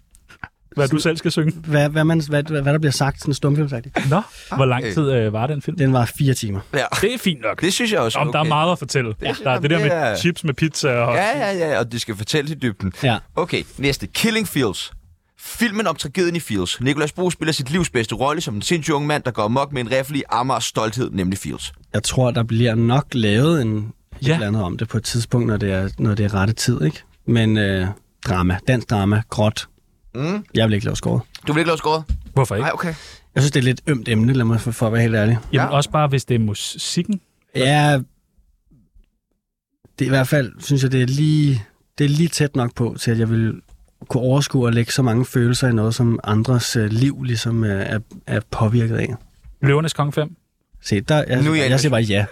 [SPEAKER 2] Hvad du selv skal synge?
[SPEAKER 4] hvad, hvad, man, hvad, hvad, hvad der bliver sagt, sådan stumfilmsagtigt.
[SPEAKER 2] Nå, hvor lang tid øh, var den film?
[SPEAKER 4] Den var fire timer.
[SPEAKER 2] Det er fint nok.
[SPEAKER 1] Det synes jeg også.
[SPEAKER 2] Om okay. der er meget at fortælle. Ja. Der er det der
[SPEAKER 1] Jamen, det
[SPEAKER 2] med
[SPEAKER 1] er-
[SPEAKER 2] chips med pizza og...
[SPEAKER 1] Ja, ja, ja, og det skal fortælles i dybden.
[SPEAKER 4] Ja.
[SPEAKER 1] Okay, næste. Killing Fields. Filmen om tragedien i Fields. Nicolas Bo spiller sit livs bedste rolle som en sindssyg ung mand, der går amok med en rifle i Amars stolthed, nemlig Fields.
[SPEAKER 4] Jeg tror, der bliver nok lavet en, ja.
[SPEAKER 2] Ja.
[SPEAKER 4] et eller andet om det på et tidspunkt, når det er, når det er rette tid, ikke? Men øh, drama, dansk drama, gråt. Mm. Jeg vil ikke lave skåret.
[SPEAKER 1] Du vil ikke lave skåret?
[SPEAKER 2] Hvorfor ikke?
[SPEAKER 1] Nej, okay.
[SPEAKER 4] Jeg synes, det er et lidt ømt emne, lad mig for, for at være helt ærlig.
[SPEAKER 2] Jamen også bare, hvis det er musikken.
[SPEAKER 4] Ja, det er i hvert fald, synes jeg, det er lige, det er lige tæt nok på, til at jeg vil kunne overskue at lægge så mange følelser i noget, som andres øh, liv ligesom øh, er, er påvirket af.
[SPEAKER 2] Løvernes Kong 5.
[SPEAKER 4] Se, der, jeg,
[SPEAKER 1] Nu er jeg
[SPEAKER 4] jeg, jeg siger bare ja.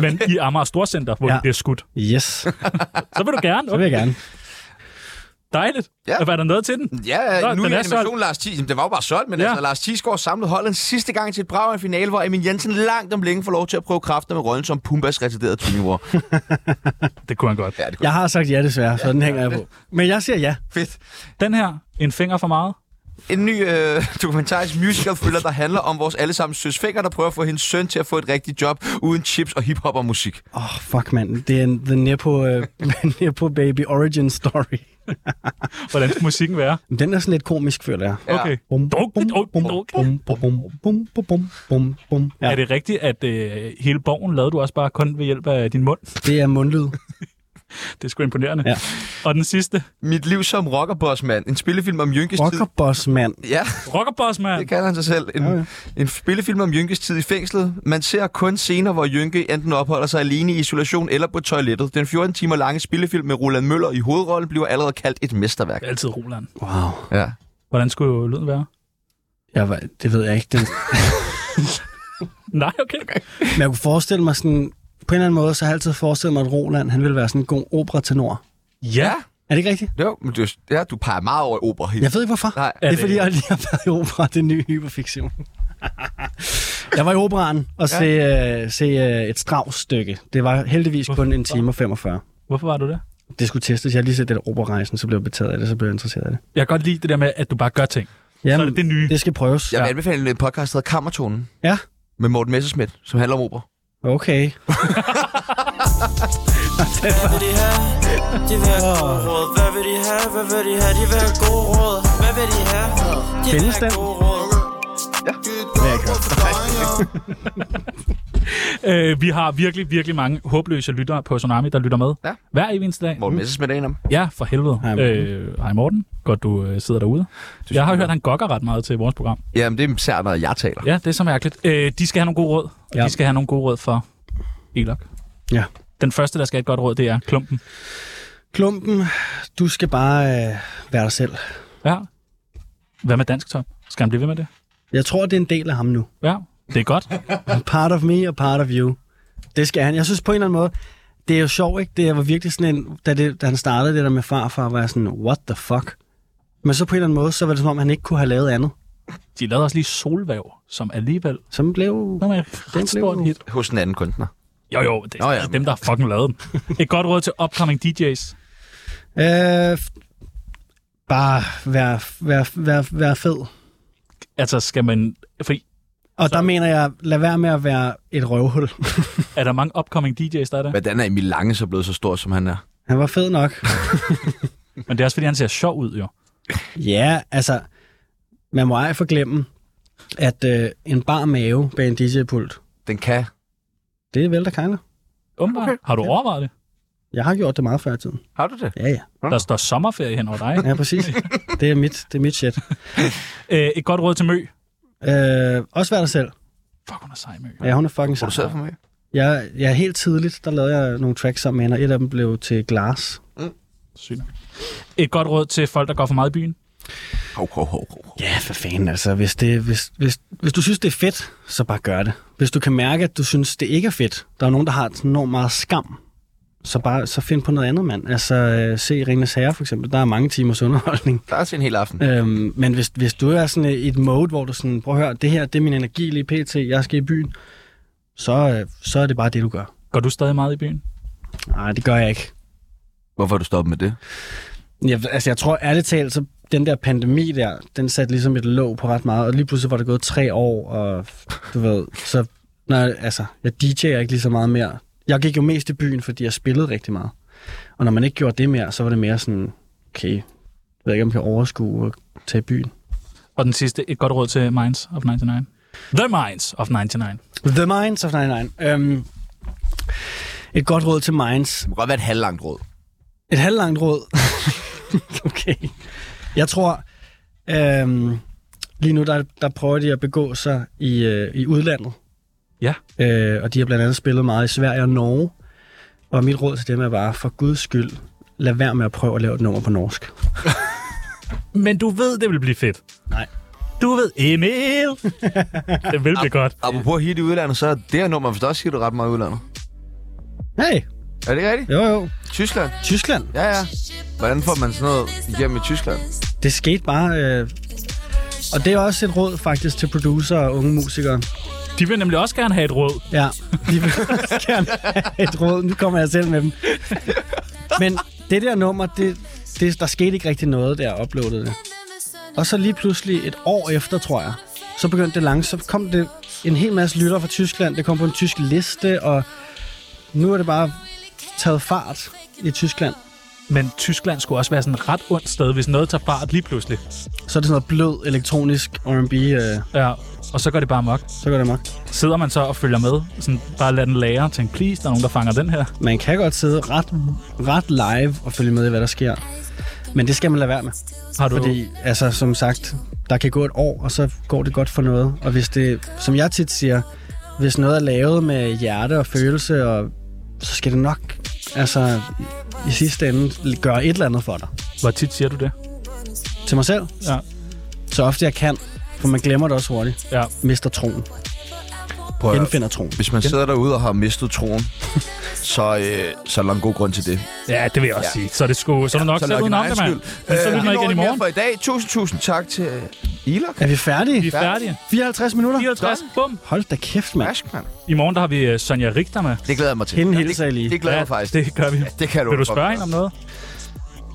[SPEAKER 2] Men i Amager Storcenter, hvor ja.
[SPEAKER 4] Ja.
[SPEAKER 2] det bliver skudt.
[SPEAKER 4] Yes, så
[SPEAKER 2] Så vil du gerne.
[SPEAKER 4] vil
[SPEAKER 2] Okay.
[SPEAKER 4] jeg gerne.
[SPEAKER 2] Dejligt.
[SPEAKER 1] Ja. Mm.
[SPEAKER 2] Ja. Var der noget til den?
[SPEAKER 1] Ja,
[SPEAKER 2] Nå,
[SPEAKER 1] ja, nu
[SPEAKER 2] den
[SPEAKER 1] er
[SPEAKER 2] er
[SPEAKER 1] animation Lars Thies. Jamen, det var jo bare solgt, men
[SPEAKER 2] Ja.
[SPEAKER 1] ja. altså, Lars Thies går samlet holdet sidste gang til et brag af en finale, hvor Emil Jensen langt om længe får lov til at prøve kræfter med rollen som Pumbas retarderede
[SPEAKER 2] [LAUGHS]
[SPEAKER 1] tvillingbror.
[SPEAKER 2] Det kunne han godt. Ja.
[SPEAKER 1] ja, det kunne
[SPEAKER 4] Jeg har sagt ja desværre, så den hænger jeg på. Men jeg siger ja.
[SPEAKER 1] fedt.
[SPEAKER 2] Den her, En finger for meget.
[SPEAKER 1] En ny øh, dokumentarisk musical thriller, der handler om vores allesammens søs Fenger, der prøver at få hendes søn til at få et rigtigt job uden chips og hiphop og musik.
[SPEAKER 4] Åh, oh, fuck mand, det er en The Nepo, [LAUGHS] uh, Nepo Baby Origin Story.
[SPEAKER 2] Hvordan skal musikken være?
[SPEAKER 4] Men Den er sådan lidt komisk, føler jeg.
[SPEAKER 1] Ja.
[SPEAKER 2] Okay.
[SPEAKER 4] Bum,
[SPEAKER 2] Dog, dog, dog.
[SPEAKER 4] bum, bum, bum, bum, bum, bum, bum, bum.
[SPEAKER 2] Ja. Er
[SPEAKER 4] Ja,
[SPEAKER 2] det rigtigt, at øh, hele borgen lavede du også bare kun ved hjælp af din mund? [LAUGHS]
[SPEAKER 4] det er mundlyd.
[SPEAKER 2] Det er sgu imponerende.
[SPEAKER 4] Ja.
[SPEAKER 2] Og den sidste.
[SPEAKER 1] Mit liv som rockerbossmand. En spillefilm om Jynkes tid.
[SPEAKER 4] Rockerboss, mand.
[SPEAKER 1] Ja,
[SPEAKER 2] Rockerboss, mand.
[SPEAKER 1] det kalder han sig selv. En, ja, ja. en spillefilm om Jynkes tid i fængslet. Man ser kun scener, hvor Jynke enten opholder sig alene i isolation eller på toilettet. Den 14 timer lange spillefilm med Roland Møller i hovedrollen bliver allerede kaldt et mesterværk.
[SPEAKER 2] Altid Roland.
[SPEAKER 4] Wow.
[SPEAKER 1] Ja.
[SPEAKER 2] Hvordan skulle lyden være?
[SPEAKER 4] Jeg, var- det ved jeg ikke. Den,
[SPEAKER 2] Nej, okay. okay.
[SPEAKER 4] men jeg kunne forestille mig sådan... På en eller anden måde, så har jeg altid forestillet mig, at Roland, han ville være sådan en god operatenor.
[SPEAKER 2] Ja.
[SPEAKER 4] Er det ikke rigtigt?
[SPEAKER 1] Jo, men du, ja, du peger meget over i opera. helt.
[SPEAKER 4] Jeg ved ikke, hvorfor.
[SPEAKER 1] Nej.
[SPEAKER 4] det er,
[SPEAKER 2] det-
[SPEAKER 4] fordi, jeg lige har været i opera, det er en ny hyperfiktion. jeg var i operaen og se, øh, se øh, et Strauss-stykke. Det var heldigvis kun en time og 45.
[SPEAKER 2] Hvorfor var du det?
[SPEAKER 4] Det skulle testes. Jeg har lige set det der operarejsen, så blev jeg betaget af det, så blev jeg interesseret af det.
[SPEAKER 2] Jeg kan godt lide det der med, at du bare gør ting.
[SPEAKER 4] Jamen,
[SPEAKER 2] er det det nye.
[SPEAKER 4] Det skal prøves.
[SPEAKER 1] Jeg vil
[SPEAKER 2] Ja.
[SPEAKER 1] anbefale en øh, podcast, der hedder Kammertonen.
[SPEAKER 4] Ja.
[SPEAKER 1] Med Morten Messerschmidt, som handler om opera.
[SPEAKER 4] Okay.
[SPEAKER 10] Hvad vil de have? De vil have gode råd. Hvad vil de have? Hvad vil de have? De vil have gode råd. Hvad vil de have? De vil
[SPEAKER 4] Findes
[SPEAKER 10] have
[SPEAKER 4] den?
[SPEAKER 10] gode råd.
[SPEAKER 2] Øh, vi har virkelig, virkelig mange håbløse lyttere på Tsunami, der lytter med.
[SPEAKER 1] Ja.
[SPEAKER 2] Hver evig eneste dag.
[SPEAKER 1] Morten Messerschmidt er en af dem.
[SPEAKER 2] Ja, for helvede. Hej
[SPEAKER 4] Hej,
[SPEAKER 2] Morten.
[SPEAKER 4] Morten.
[SPEAKER 2] Øh, hej Morten. Godt, du øh, sidder derude. Jeg har hørt, at han gokker ret meget til vores program.
[SPEAKER 1] Jamen, det er især, når jeg taler.
[SPEAKER 2] Ja, det er så mærkeligt. Øh, de skal have nogle gode råd. Ja.
[SPEAKER 4] Ja.
[SPEAKER 2] De skal have nogle gode råd for Elok.
[SPEAKER 4] Ja.
[SPEAKER 2] Den første, der skal have et godt råd, det er klumpen.
[SPEAKER 4] Klumpen, du skal bare øh, være dig selv.
[SPEAKER 2] Ja. Hvad med dansk top? Skal han blive ved med det?
[SPEAKER 4] Jeg tror, det er en del af ham nu.
[SPEAKER 2] Ja, det er godt.
[SPEAKER 4] Part of me og part of you. Det skal han. Jeg synes på en eller anden måde, det er jo sjovt, ikke? Det var virkelig sådan en... Da, det, da han startede det der med farfar, var jeg sådan, what the fuck? Men så på en eller anden måde, så var det som om, han ikke kunne have lavet andet.
[SPEAKER 2] De lavede også lige Solvæv, som alligevel
[SPEAKER 4] Som blev...
[SPEAKER 2] den er et
[SPEAKER 4] blev-
[SPEAKER 2] ret stort hit.
[SPEAKER 1] hos en anden kunstner.
[SPEAKER 2] Jo, jo, det er
[SPEAKER 1] Nå
[SPEAKER 2] Nå,
[SPEAKER 1] ja,
[SPEAKER 2] ja,
[SPEAKER 1] men-
[SPEAKER 2] dem, der har fucking lavet dem. Et godt råd til upcoming DJ's.
[SPEAKER 4] Øh, f- bare være, være, være, være fed.
[SPEAKER 2] Altså, skal man... Fordi,
[SPEAKER 4] Og så. der mener jeg, lad være med at være et røvhul. [LAUGHS]
[SPEAKER 2] er der mange upcoming DJ's, der er der?
[SPEAKER 1] Hvordan er Emil Lange så blevet så stor, som han er?
[SPEAKER 4] Han var fed nok.
[SPEAKER 2] Men det er også, fordi han ser sjov ud, jo.
[SPEAKER 4] Ja, altså, man må ej forglemme, at øh, en bar mave bag en DJ-pult,
[SPEAKER 1] Den kan.
[SPEAKER 4] det er vel der kejler.
[SPEAKER 2] Umiddelbart. Okay. Har du overvejet det?
[SPEAKER 4] Jeg har gjort det meget før i tiden.
[SPEAKER 1] Har du det?
[SPEAKER 4] Ja, ja.
[SPEAKER 2] Der står sommerferie hen over dig.
[SPEAKER 4] Ja, præcis. Det er mit, det er mit shit.
[SPEAKER 2] Øh, et godt råd til Mø.
[SPEAKER 4] Øh, også vær dig selv.
[SPEAKER 2] Fuck, hun er sej, Mø.
[SPEAKER 4] Ja, hun er fucking
[SPEAKER 1] Har du
[SPEAKER 4] sej.
[SPEAKER 1] selv for mig?
[SPEAKER 4] Jeg, jeg helt tidligt, der lavede jeg nogle tracks sammen med hende, og et af dem blev til Glass.
[SPEAKER 2] Sygt. Et godt råd til folk, der går for meget i byen.
[SPEAKER 1] Hov, hov, hov, hov.
[SPEAKER 4] Ja, for fanden altså. Hvis, det, hvis, hvis, hvis du synes, det er fedt, så bare gør det. Hvis du kan mærke, at du synes, det ikke er fedt, der er nogen, der har sådan enormt meget skam, så bare så find på noget andet, mand. Altså, øh, se Ringens Herre, for eksempel. Der er mange timers underholdning.
[SPEAKER 1] Der er til en hel aften.
[SPEAKER 4] Øhm, men hvis, hvis du er sådan i et mode, hvor du sådan, prøv at høre, det her, det er min energi lige pt, jeg skal i byen, så, øh, så er det bare det, du gør.
[SPEAKER 2] Går du stadig meget i byen?
[SPEAKER 4] Nej, det gør jeg ikke.
[SPEAKER 1] Hvorfor har du stoppet med det?
[SPEAKER 4] Jeg, altså, jeg tror ærligt talt, så den der pandemi der, den satte ligesom et låg på ret meget, og lige pludselig var der gået tre år, og du ved, så når, jeg- altså, jeg DJ'er ikke lige så meget mere. Jeg gik jo mest i byen, fordi jeg spillede rigtig meget. Og når man ikke gjorde det mere, så var det mere sådan, okay, jeg ved ikke, om jeg kan overskue at tage i byen.
[SPEAKER 2] Og den sidste, et godt råd til Minds of 99. The Minds of 99.
[SPEAKER 4] The Minds of 99. Øhm, et godt råd til Minds.
[SPEAKER 1] Det må godt være et halvlangt råd.
[SPEAKER 4] Et halvlangt råd. [LAUGHS] okay. Jeg tror, øhm, lige nu der, der prøver de at begå sig i, øh, i udlandet.
[SPEAKER 2] Ja.
[SPEAKER 4] Øh, og de har blandt andet spillet meget i Sverige og Norge. Og mit råd til dem er bare, for guds skyld, lad være med at prøve at lave et nummer på norsk.
[SPEAKER 2] Men du ved, det vil blive fedt.
[SPEAKER 4] Nej.
[SPEAKER 2] Du ved, [LAUGHS] Emil! det vil blive godt.
[SPEAKER 1] Apropos hit i udlandet, så er det her nummer, hvis du også siger, du ret meget i udlandet.
[SPEAKER 4] Hey,
[SPEAKER 1] Er det ikke rigtigt?
[SPEAKER 4] jo jo.
[SPEAKER 1] Tyskland?
[SPEAKER 4] Tyskland.
[SPEAKER 1] Ja, ja. Hvordan får man sådan noget igennem i Tyskland?
[SPEAKER 4] Det skete bare... Øh, og det er også et råd faktisk til producer og unge musikere.
[SPEAKER 2] De vil nemlig også gerne have et råd.
[SPEAKER 4] Ja, de vil også gerne have et råd. Nu kommer jeg selv med dem. Men det der nummer, det, det, der skete ikke rigtig noget, da jeg uploadede det. Og så lige pludselig et år efter, tror jeg, så begyndte det langsomt. Så kom det en hel masse lyttere fra Tyskland. Det kom på en tysk liste, og nu er det bare taget fart i Tyskland.
[SPEAKER 2] Men Tyskland skulle også være sådan et ret ondt sted, hvis noget tager fart lige pludselig.
[SPEAKER 4] Så er det sådan noget blød, elektronisk R&B, øh,
[SPEAKER 2] Ja, og så går det bare mok.
[SPEAKER 4] så går det nok.
[SPEAKER 2] Sidder man så og følger med, sådan bare lader den lære og tænke, please, der er nogen, der fanger den her.
[SPEAKER 4] Man kan godt sidde ret, ret live og følge med i, hvad der sker. Men det skal man lade være med.
[SPEAKER 2] Har du,
[SPEAKER 4] Fordi, altså, som sagt, der kan gå et år, og så går det godt for noget. Og hvis det, som jeg tit siger, hvis noget er lavet med hjerte og følelse, og, så skal det nok, altså, i sidste ende, gøre et eller andet for dig.
[SPEAKER 2] hvor tit siger du det?
[SPEAKER 4] Til mig selv,
[SPEAKER 2] Ja.
[SPEAKER 4] så ofte jeg kan, for man glemmer det også hurtigt,
[SPEAKER 2] Ja,
[SPEAKER 4] mister troen,
[SPEAKER 1] Prøv at-
[SPEAKER 4] genfinder troen.
[SPEAKER 1] Hvis man sidder derude og har mistet troen, [LAUGHS] så, øh, så er der en god grund til det.
[SPEAKER 2] ja det vil jeg også ja. sige. Så det skulle, så er du nok
[SPEAKER 1] så
[SPEAKER 2] selv uden om det, mand. Men så
[SPEAKER 1] Øh,
[SPEAKER 2] lytter man igen i morgen.
[SPEAKER 1] for i dag. Tusind, tusind tak til øh, Ilok.
[SPEAKER 4] Er vi færdige?
[SPEAKER 2] Vi er færdige.
[SPEAKER 4] 54 minutter?
[SPEAKER 2] 54, bum.
[SPEAKER 4] Hold da kæft, mand.
[SPEAKER 1] Mærsk, mand.
[SPEAKER 2] I morgen der har vi øh, Sonja Richter med.
[SPEAKER 1] Det glæder jeg mig til.
[SPEAKER 4] Hende
[SPEAKER 1] Ja,
[SPEAKER 4] hilser jeg
[SPEAKER 1] det,
[SPEAKER 4] lige.
[SPEAKER 1] Det glæder jeg mig faktisk.
[SPEAKER 2] det gør vi.
[SPEAKER 1] Ja, det kan du
[SPEAKER 2] Vil du
[SPEAKER 1] godt
[SPEAKER 2] spørge
[SPEAKER 1] gøre.
[SPEAKER 2] hende om
[SPEAKER 1] [LAUGHS]
[SPEAKER 2] noget?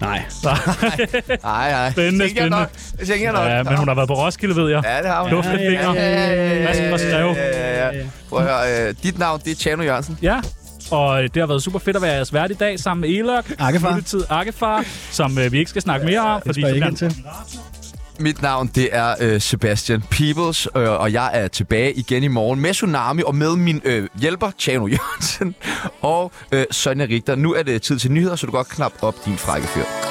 [SPEAKER 4] Nej.
[SPEAKER 1] Nej, nej. Tænker
[SPEAKER 2] Spændende,
[SPEAKER 1] jeg
[SPEAKER 2] spændende.
[SPEAKER 1] nok. Det tænker jeg nok.
[SPEAKER 2] [LAUGHS] Ja, men hun har været på Roskilde, ved jeg.
[SPEAKER 1] Ja, det har hun.
[SPEAKER 2] Duftet fingre. Masken og skrev.
[SPEAKER 1] ja, ja. Prøv at høre, øh, dit navn, det er Tjano Jørgensen.
[SPEAKER 2] Ja, og øh, det har været super fedt at være jeres vært i dag sammen med Elok.
[SPEAKER 4] Akkefar.
[SPEAKER 2] Lyttetid Akkefar, som øh, vi ikke skal snakke mere om, fordi
[SPEAKER 4] spørger
[SPEAKER 2] så
[SPEAKER 4] ikke
[SPEAKER 2] bliver
[SPEAKER 4] ind til.
[SPEAKER 1] Mit navn, det er øh, Sebastian Peebles, øh, og jeg er tilbage igen i morgen med Tsunami og med min øh, hjælper, Tjano Jørgensen, og øh, Sonja Richter. Nu er det tid til nyheder, så du godt knap op din frække fyr.